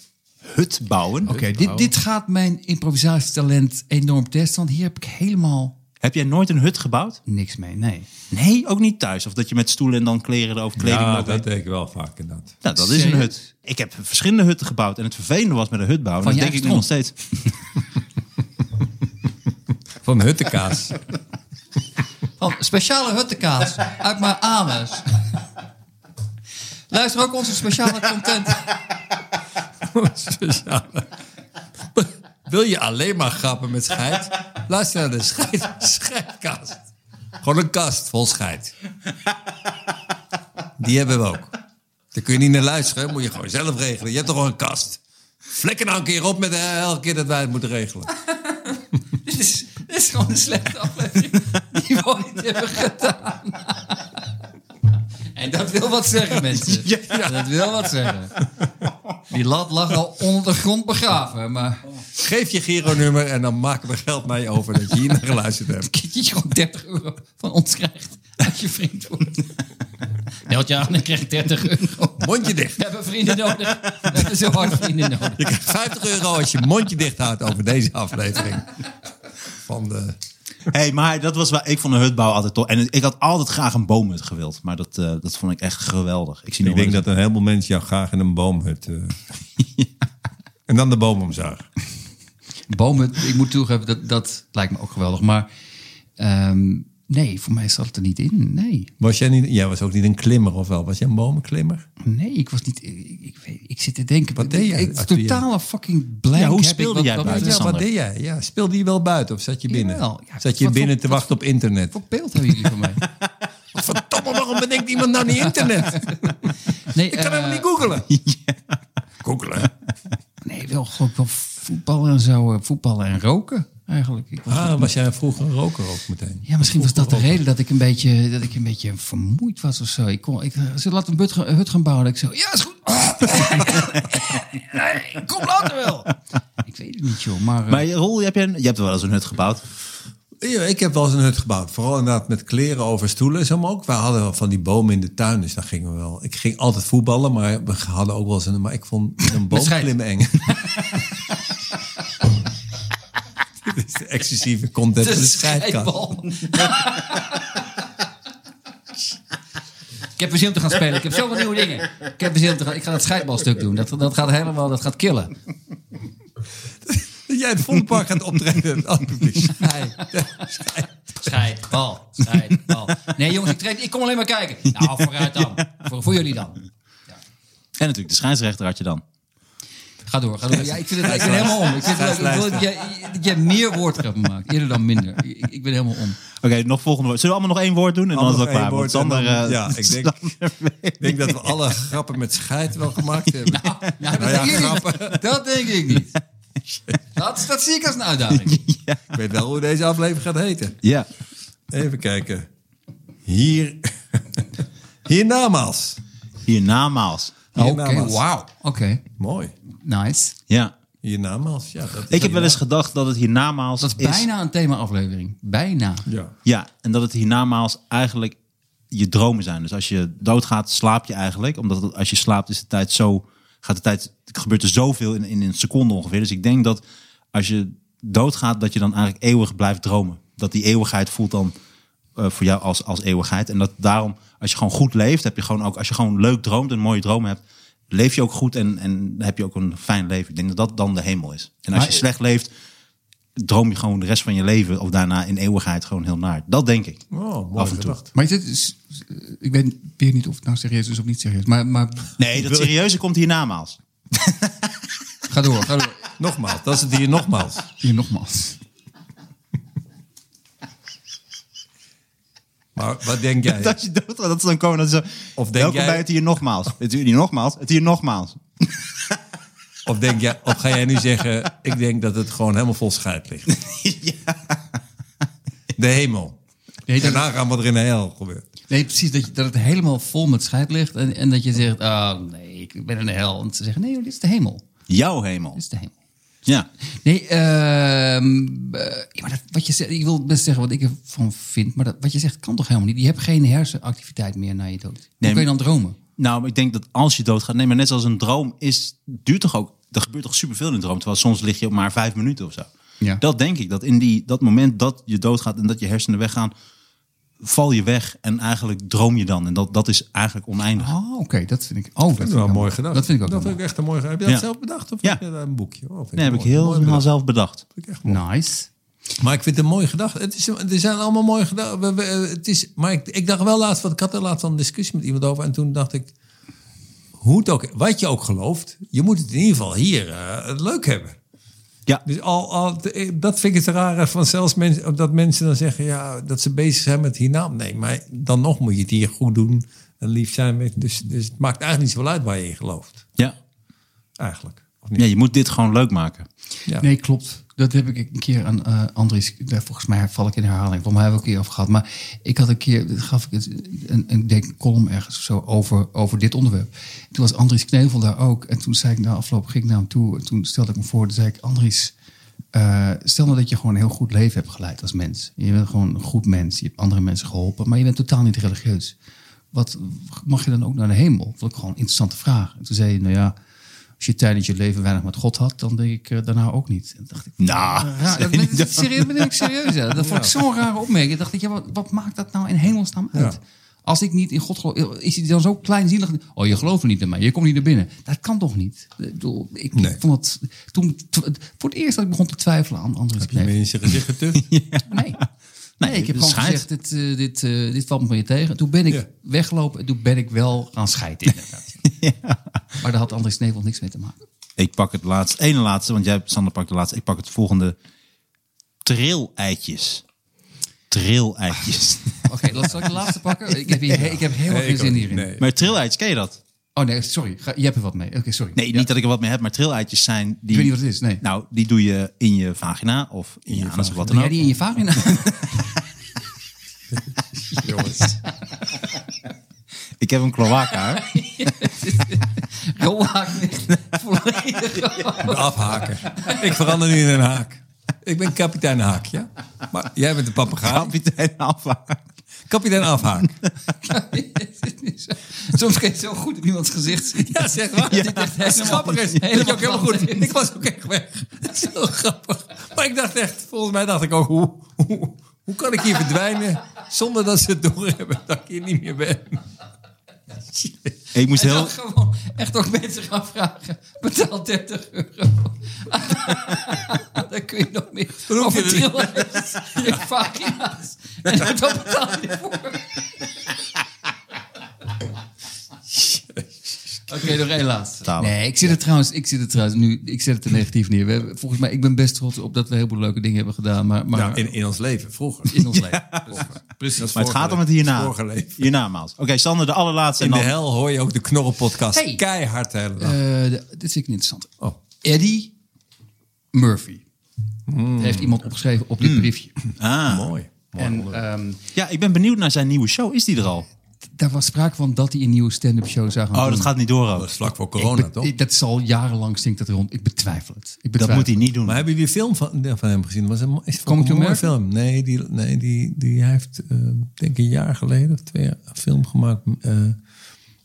S5: Hut bouwen.
S4: Oké, dit, dit gaat mijn improvisatietalent enorm testen. Want hier heb ik helemaal
S5: Heb jij nooit een hut gebouwd?
S4: niks mee. Nee.
S5: Nee, ook niet thuis. Of dat je met stoelen en dan kleren erover kleding
S3: Ja,
S5: erover-
S3: dat denk ik wel vaak inderdaad.
S5: Nou, dat is een
S4: Serieus?
S5: hut. Ik heb verschillende hutten gebouwd. En het vervelende was met een hut bouwen.
S4: Van
S5: Dat
S4: je
S5: denk ik nu nog
S4: eigen
S5: steeds.
S3: Van Huttekaas.
S4: Van speciale huttenkaas uit mijn anus. Luister ook onze speciale content.
S3: Speciale. Wil je alleen maar grappen met scheid? Luister naar de scheid, scheidkast. Gewoon een kast vol scheid. Die hebben we ook. Daar kun je niet naar luisteren, moet je gewoon zelf regelen. Je hebt toch gewoon een kast. Flikker nou een keer op met eh, elke keer dat wij het moeten regelen.
S4: dit, is, dit is gewoon een slechte aflevering. Die we ooit hebben gedaan. En dat wil wat zeggen, mensen. Dat wil wat zeggen. Die lat lag al onder de grond begraven. Maar
S3: Geef je Giro-nummer en dan maken we geld naar je over dat je hier naar geluisterd hebt.
S4: dat je gewoon 30 euro van ons krijgt. Als je vriend wordt. Meld je aan en krijg je 30 euro.
S3: Mondje dicht.
S4: We hebben vrienden nodig. We hebben zo hard vrienden nodig.
S3: Je krijgt 50 euro als je mondje dicht houdt over deze aflevering. Van de...
S5: hey, maar dat was wel... Ik vond een hut bouwen altijd tof. En ik had altijd graag een boomhut gewild. Maar dat, eh, dat vond ik echt geweldig. Ik, zie nog
S3: Ik denk
S5: wel eens-
S3: dat een heleboel mensen jou graag in een boomhut... eh, En dan de boom omzaag.
S4: Bomen, ik moet toegeven, dat, dat lijkt me ook geweldig. Maar ehm, nee, voor mij zat het er niet in. Nee,
S3: Was jij, niet, jij was ook niet een klimmer, of wel? Was jij een bomenklimmer?
S4: nee ik was niet... Ik, ik, weet- ik zit te denken,
S3: Wat deed
S4: ik-
S3: jij
S4: ik-
S3: als je-
S4: Totale fucking blank
S5: Ja, hoe
S4: heb ik
S5: speelde
S4: wat
S5: jij
S4: dat
S5: buiten?
S4: betreft.
S5: Ja, Sander.
S3: deed jij? Ja, speelde je wel buiten of zat je
S4: Jawel. Ja,
S3: zat je
S4: wat
S3: binnen
S4: voor-
S3: te wachten op internet?
S4: Wat beeld hebben jullie van mij?
S3: Verdomme, waarom bedenkt iemand nou niet internet?
S4: Nee,
S3: Ik kan
S4: eh,
S3: helemaal niet googelen. Googelen?
S4: nee wel, gewoon wel voetballen en zo. eh, Voetballen en roken, eigenlijk. Ik was-
S3: Ah, was jij vroeger een roker ook meteen?
S4: Ja, misschien was dat de reden dat ik een beetje, dat ik een beetje vermoeid was of zo. Ik kon, ik, ze laat een but, hut gaan bouwen. Dat ik zo, ja, is goed. Nee, kom later wel. Ik weet het niet, joh. Maar, eh,
S5: Maar Rol, heb jij een- je hebt wel eens een hut gebouwd.
S3: Ja, ik heb wel eens een hut gebouwd. Vooral inderdaad met kleren over stoelen en zo. Maar ook, wij hadden wel van die bomen in de tuin. Dus daar gingen we wel. Ik ging altijd voetballen, maar we hadden ook wel eens een... Maar ik vond een boom
S4: schijt.
S3: klimmen eng. Dit is de exclusieve content van de scheidkast.
S4: scheidbal. Ik heb weer zin om te gaan spelen. Ik heb zoveel nieuwe dingen. Ik heb weer zin om te gaan. Ik ga dat scheidbalstuk doen. Dat, dat gaat helemaal, dat gaat killen.
S3: Dat jij het volle park gaat optreden. aan het publiek.
S4: Nee. Scheidbal. Scheidbal. Nee jongens, ik, train, ik kom alleen maar kijken. Nou, vooruit dan. Voor, voor jullie dan.
S5: En natuurlijk de scheidsrechter had je dan.
S4: Ga door, ga door. Ja, ik, vind het, ik ben helemaal om. Ik, vind het, leuk. ik wil dat jij, dat jij meer woordgrappen maakt. Eerder dan minder. Ik, ik ben helemaal om.
S5: Oké, nog volgende woord. Zullen we allemaal nog één woord doen? En dan is
S3: Allemaal
S5: het
S3: nog één
S5: klaar. Want
S3: woord en
S5: Sander,
S3: dan-
S5: eh,
S3: ja, ik denk-
S5: Sander weet-
S3: Ik denk dat we alle grappen met scheid wel gemaakt hebben.
S4: Nou, dat,
S3: Nou ja,
S4: denk ik niet. dat denk ik niet. Dat, dat zie ik als een uitdaging.
S3: Ik weet wel hoe deze aflevering gaat heten.
S5: Ja.
S3: Even kijken. Hier. Hiernamaals.
S5: Hiernamaals.
S4: Oké,
S3: Hiernamaals.
S4: wauw. Oké,
S3: Mooi.
S4: nice.
S5: Ja.
S3: Hiernamaals, ja. Dat is
S5: Ik heb wel eens gedacht dat het hiernamaals
S4: Dat is bijna een thema-aflevering. Bijna.
S3: Ja.
S5: Ja, en dat het hiernamaals eigenlijk je dromen zijn. Dus als je doodgaat, slaap je eigenlijk. Omdat het- als je slaapt, is de tijd zo. Gaat de tijd. het gebeurt er zoveel in, in een seconde ongeveer. Dus ik denk dat als je doodgaat, dat je dan eigenlijk eeuwig blijft dromen. Dat die eeuwigheid voelt dan eh, voor jou als, als eeuwigheid. En dat daarom, als je gewoon goed leeft, heb je gewoon ook. Als je gewoon leuk droomt en mooie dromen hebt. Leef je ook goed en, en heb je ook een fijn leven. Ik denk dat dat dan de hemel is. En als je
S4: Maar-
S5: slecht leeft, droom je gewoon de rest van je leven of daarna in eeuwigheid gewoon heel naar. Dat denk ik.
S3: Oh, mooi
S5: Af en toe.
S3: bedacht.
S4: Maar dit is, ik weet weer niet of het nou serieus is of niet serieus. Maar, maar
S5: Nee, dat serieuze komt hiernamaals.
S4: ga door, ga door.
S3: Nogmaals, dat is het hier nogmaals.
S4: Hier nogmaals.
S3: Maar wat denk jij?
S5: Dat je doodgaat, dat ze dan komen. Dat ze,
S3: Of denk
S5: welkom
S3: jij-
S5: bij het hier nogmaals. Het hier nogmaals. Het hier nogmaals.
S3: Of, denk jij, of ga jij nu zeggen, ik denk dat het gewoon helemaal vol scheid ligt? De hemel.
S4: Nee, dat- Oh,
S3: Daarna gaan wat er in de hel gebeurt.
S4: Nee, precies. Dat, je, dat het helemaal vol met scheid ligt. En, en dat je zegt, ah nee, ik ben in de hel. En ze zeggen, nee, joh, dit is de hemel.
S5: Jouw hemel.
S4: Dit is de hemel.
S5: Ja.
S4: Nee, ehm, eh, ja, maar dat, wat je zegt, ik wil best zeggen wat ik ervan vind. Maar dat, wat je zegt kan toch helemaal niet? Je hebt geen hersenactiviteit meer na je dood. Hoe
S5: Nee,
S4: kun je dan dromen?
S5: Nou, ik denk dat als je doodgaat... Nee, maar net zoals een droom is... Duurt toch ook... Er gebeurt toch superveel in een droom. Terwijl soms lig je op maar vijf minuten of zo.
S4: Ja.
S5: Dat denk ik. Dat in die, dat moment dat je doodgaat en dat je hersenen weggaan... Val je weg en eigenlijk droom je dan. En dat, dat is eigenlijk oneindig.
S3: Ah,
S4: Oh, oké, dat vind ik. Oh, dat,
S3: Dat
S4: vind
S3: is
S4: ik
S3: wel
S4: wel
S3: mooi gedaan.
S4: Dat vind ik ook
S3: dat
S4: wel
S3: vind ik echt een mooi Heb je dat
S5: Ja.
S3: zelf bedacht? Of
S5: Ja.
S3: heb je daar een boekje? Oh, vind
S5: Nee, heb ik
S3: mooi.
S5: heel
S3: Mooi
S5: helemaal
S3: bedacht.
S5: zelf bedacht.
S3: Vind ik echt mooi.
S4: mooi. Nice.
S3: Maar ik vind het een mooie gedachte. Het is, er zijn allemaal mooie gedachten. We- we- Het is, maar ik, ik dacht wel laatst, want ik had er laatst al een discussie met iemand over. En toen dacht ik, hoe het ook, wat je ook gelooft, je moet het in ieder geval hier eh, leuk hebben.
S5: Ja.
S3: Dus al, al, dat vind ik het rare van zelfs mensen, dat mensen dan zeggen ja, dat ze bezig zijn met hiernaam. Nee, maar dan nog moet je het hier goed doen en lief zijn. Met, dus, dus het maakt eigenlijk niet zo uit waar je in gelooft.
S5: Ja.
S3: Eigenlijk. Of niet?
S5: ja, je moet dit gewoon leuk maken.
S3: Ja.
S4: Nee, klopt. Dat heb ik een keer aan eh Andries. eh, Volgens mij val ik in herhaling. Volgens mij hebben we een keer over gehad. Maar ik had een keer, dat gaf ik het, een, een, ik denk een column ergens of zo over, over dit onderwerp. Toen was Andries Knevel daar ook. En toen zei ik na afloop, ging ik naar hem toe. En toen stelde ik me voor, toen zei ik, Andries, eh, stel nou dat je gewoon een heel goed leven hebt geleid als mens. Je bent gewoon een goed mens. Je hebt andere mensen geholpen. Maar je bent totaal niet religieus. Wat mag je dan ook naar de hemel? Dat vond ik gewoon een interessante vraag. En toen zei hij, nou ja, als je tijdens je leven weinig met God had, dan denk ik eh, daarna ook niet. En toen dacht ik,
S5: Nou,
S4: Raar, dat ben, dat serieus, ben ik serieus. hè. Dat vond ik zo'n rare opmerking. Ik dacht, ik, ja, wat, wat maakt dat nou in hemelsnaam uit? Als ik niet in God geloof, is hij dan zo kleinzielig? Oh, je gelooft er niet in mij, je komt niet naar binnen. Dat kan toch niet? Ik, bedoel, ik
S3: Nee.
S4: vond het, toen, tw- voor het eerst dat ik begon te twijfelen aan andere
S3: Je bent in zijn gezicht getucht.
S4: Nee. Nee, ik heb gewoon
S5: schijnt.
S4: gezegd, dit, eh, dit, eh, dit valt me je tegen. Toen ben ik
S3: Ja.
S4: weggelopen en toen ben ik wel gaan scheiden. inderdaad. Maar daar had André Snevel niks mee te maken.
S5: Ik pak het laatste, ene laatste, want jij, Sander, pakt de laatste. Ik pak het volgende. Trilleitjes. Trilleitjes.
S4: Oké, laat- zal ik de laatste pakken? Ik heb, hier, ik heb heel erg
S3: Nee,
S4: geen
S3: ik
S4: zin
S3: ook
S4: hierin.
S3: niet. Nee.
S5: Maar trilleitjes, ken je dat?
S4: Oh nee, sorry. Ga- je hebt er wat mee. Oké, sorry.
S5: Nee, niet dat ik er wat mee heb, maar trilleitjes zijn... Die,
S4: weet niet wat het is, nee.
S5: Nou, die doe je in je vagina of in je, anus of wat dan
S4: Doe jij
S5: ook.
S4: die in je vagina?
S3: Jongens.
S5: Ik heb een cloaca. hè?
S4: Rolhaak niet. Volledig.
S3: De afhaken. Ik verander nu in een haak. Ik ben kapitein Haak, ja? Maar jij bent een papegaai.
S5: Kapitein Alpha.
S3: Kapitein Afhaak.
S4: Soms kan je zo goed in iemands gezicht zien.
S3: Ja, zeg maar.
S4: Dit echt
S3: Het is
S4: helemaal-
S3: grappig is. Dat is ook helemaal goed.
S4: anders.
S3: Ik was ook echt weg. Dat is heel grappig. Maar ik dacht echt, volgens mij dacht ik ook, hoe, hoe, hoe kan ik hier verdwijnen zonder dat ze het doorhebben dat ik hier niet meer ben?
S5: Ik moest
S4: Hij
S5: heel...
S4: zag gewoon echt ook mensen gaan vragen. Betaal 30 euro. Dan kun je nog meer
S3: hoef
S4: over
S3: je er niet.
S4: trilletjes, je vagina's. En dan betaal je ervoor. Oké, nog één laatste.
S5: Betalen.
S4: Nee, ik zit er trouwens, ik zit er trouwens nu, ik zet het te negatief neer. We hebben, volgens mij, ik ben best trots op dat we heel veel leuke dingen hebben gedaan, maar, maar
S3: Nou,
S4: in,
S3: in, in ons leven, vroeger.
S4: ons leven.
S3: Precies. Dat is
S5: Maar het
S3: vorige
S5: gaat om het
S3: leven.
S5: hierna.
S3: Vorige leven.
S5: Hierna, Maals. Oké, Sander, de allerlaatste.
S3: In
S5: en
S3: de
S5: dan...
S3: hel hoor je ook de knorrenpodcast
S4: Hey.
S3: keihard de hele dag.
S4: Eh, de- dit vind ik een interessante.
S3: Oh.
S4: Eddie Murphy.
S5: Hmm.
S4: Heeft iemand opgeschreven op dit briefje.
S5: Ah.
S3: Mooi.
S4: En ehm,
S5: Ja, ik ben benieuwd naar zijn nieuwe show. Is die er
S4: Oh,
S5: al?
S4: daar was sprake van dat hij een nieuwe stand-up show zou gaan
S5: Oh,
S4: doen.
S5: dat gaat niet door ook.
S3: Dat is vlak voor corona,
S4: Ik be-
S3: toch?
S4: ik- dat zal jarenlang stinkt dat rond. Ik betwijfel het. Ik
S5: Dat
S4: betwijfel
S5: moet hij niet doen.
S3: Maar hebben jullie een film van, van hem gezien? Was een, is het
S4: Coming
S3: ook
S4: Hmm. to
S3: een mooie
S4: America?
S3: film? Nee, die, nee, die, die hij heeft eh, denk ik een jaar geleden of twee jaar een film gemaakt eh,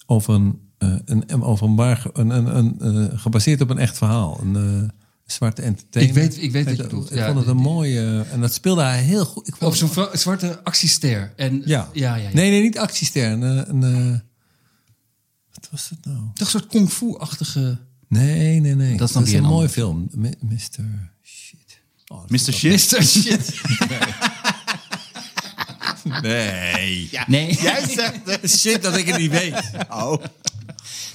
S3: over een, eh, een, over een, waar, een, een, een, eh, gebaseerd op een echt verhaal. Een eh, zwarte entertainer. Eh,
S4: Ik weet- ik weet wat je
S3: ik
S4: bedoelt.
S3: vond
S4: Ja,
S3: het
S4: die-
S3: een
S4: die-
S3: mooie... eh, En dat speelde hij heel goed. Ik
S4: het.
S3: vond
S4: Op zo'n vra- zwarte actiester. En,
S3: ja.
S4: Ja, ja, ja.
S3: Nee, nee, niet actiester. Een, eh, een, eh, wat was het nou?
S4: Toch een soort kung fu-achtige...
S3: Nee, nee, nee.
S4: Dat is dan weer
S3: een
S4: een
S3: mooie
S4: ander.
S3: film. Mi- Mr. Shit. Oh, dat
S5: Mr.
S3: is ook-
S5: Shit.
S4: shit.
S3: Nee.
S4: Nee.
S5: zegt het.
S3: Shit dat ik het niet weet.
S5: Oh.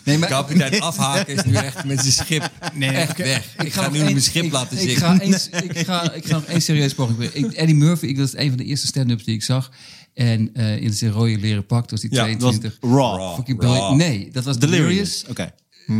S4: nee, maar...
S3: Kapitein Afhaken is nu echt met zijn schip echt weg. Ik, ga
S4: nog
S3: nu mijn
S4: één-
S3: schip
S4: ik-
S3: laten
S4: ik
S3: zitten.
S4: Ga eens, ik, ga, ik ga nog één serieus poging proberen. Ik- Eddie Murphy, ik, dat is een van de eerste stand-ups die ik zag. En eh, in zijn rode leren pak, toen was hij
S3: Ja, dat
S5: Dat
S4: 22.
S5: was raw.
S4: Fucking briljant. Nee, dat was Delirious.
S5: Delirious. Oké.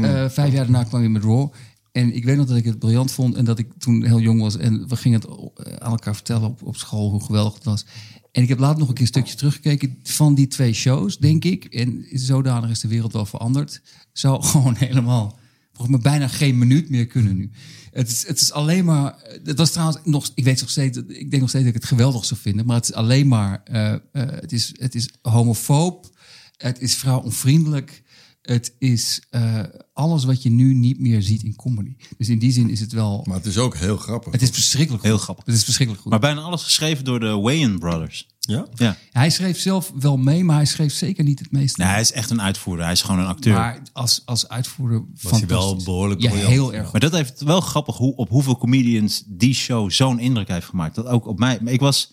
S4: Eh, vijf jaar daarna kwam je met Raw. En ik weet nog dat ik het briljant vond en dat ik toen heel jong was. En we gingen het o- eh, aan elkaar vertellen op, op school hoe geweldig het was. En ik heb later nog een keer een stukje teruggekeken van die twee shows, denk ik. En zodanig is de wereld wel veranderd. Zou gewoon helemaal, volgens mij bijna geen minuut meer kunnen nu. Het is, het is alleen maar, het was trouwens nog, ik weet nog steeds, dat- ik denk nog steeds dat ik het geweldig zou vinden. Maar het is alleen maar, eh, eh, het, is, het is homofoob, het is vrouwonvriendelijk. Het is eh, alles wat je nu niet meer ziet in comedy. Dus in die zin is het wel.
S3: Maar het is ook heel grappig.
S4: Het is verschrikkelijk. Goed.
S5: Heel grappig.
S4: Het is verschrikkelijk goed.
S5: Maar bijna alles geschreven door de Wayan Brothers.
S3: Ja?
S5: Ja.
S4: hij schreef zelf wel mee, maar hij schreef zeker niet het meeste.
S5: Nee, hij is echt een uitvoerder. Hij is gewoon een acteur. Maar,
S4: maar als, als uitvoerder
S3: Was hij wel
S4: fantastisch.
S3: behoorlijk
S4: Ja,
S3: briljant.
S4: heel erg. goed.
S5: dat heeft wel grappig hoe, op hoeveel comedians die show zo'n indruk heeft gemaakt. Dat ook op mij. Maar ik was,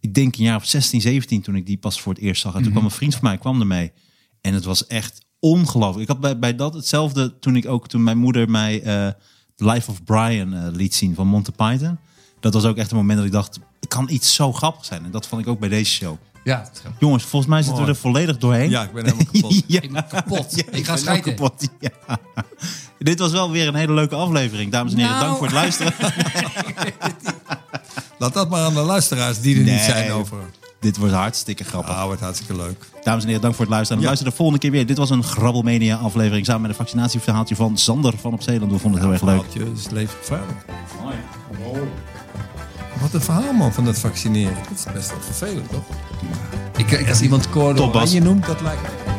S5: ik denk een jaar of 16, 17 toen ik die pas voor het eerst zag. En
S3: Mhm.
S5: toen kwam een vriend van mij, kwam ermee. En het was echt ongelooflijk. Ik had bij, bij dat hetzelfde toen ik ook, toen mijn moeder mij eh, The Life of Brian eh, liet zien van Monty Python. Dat was ook echt een moment dat ik dacht, het kan iets zo grappig zijn. En dat vond ik ook bij deze show.
S4: Ja, het is gewoon-
S5: Jongens, volgens mij zitten we er volledig doorheen.
S3: Ja, ik ben helemaal kapot.
S5: Ja.
S4: ik ben kapot.
S5: Ja,
S4: ik ga
S5: ben ook
S4: scheiden.
S5: kapot, ja. Dit was wel weer een hele leuke aflevering, dames en heren.
S4: Nou.
S5: Dank voor het luisteren.
S3: Laat dat maar aan de luisteraars die er
S5: Nee.
S3: niet zijn over.
S5: Dit wordt hartstikke grappig.
S3: Ah, wordt hartstikke leuk.
S5: Dames en heren, dank voor het luisteren. En
S3: Ja.
S5: Luister de volgende keer weer. Dit was een Grabbelmania aflevering samen met een vaccinatieverhaaltje van Sander van op Zeeland. We vonden het heel erg leuk.
S3: Verhaaltje is levensgevaarlijk. Wat een verhaal man van dat vaccineren. Dat is best wel vervelend, toch?
S4: Ik, ik, als iemand Cordon
S5: Top, Bas.
S4: Oranje
S3: Je noemt dat lijkt me.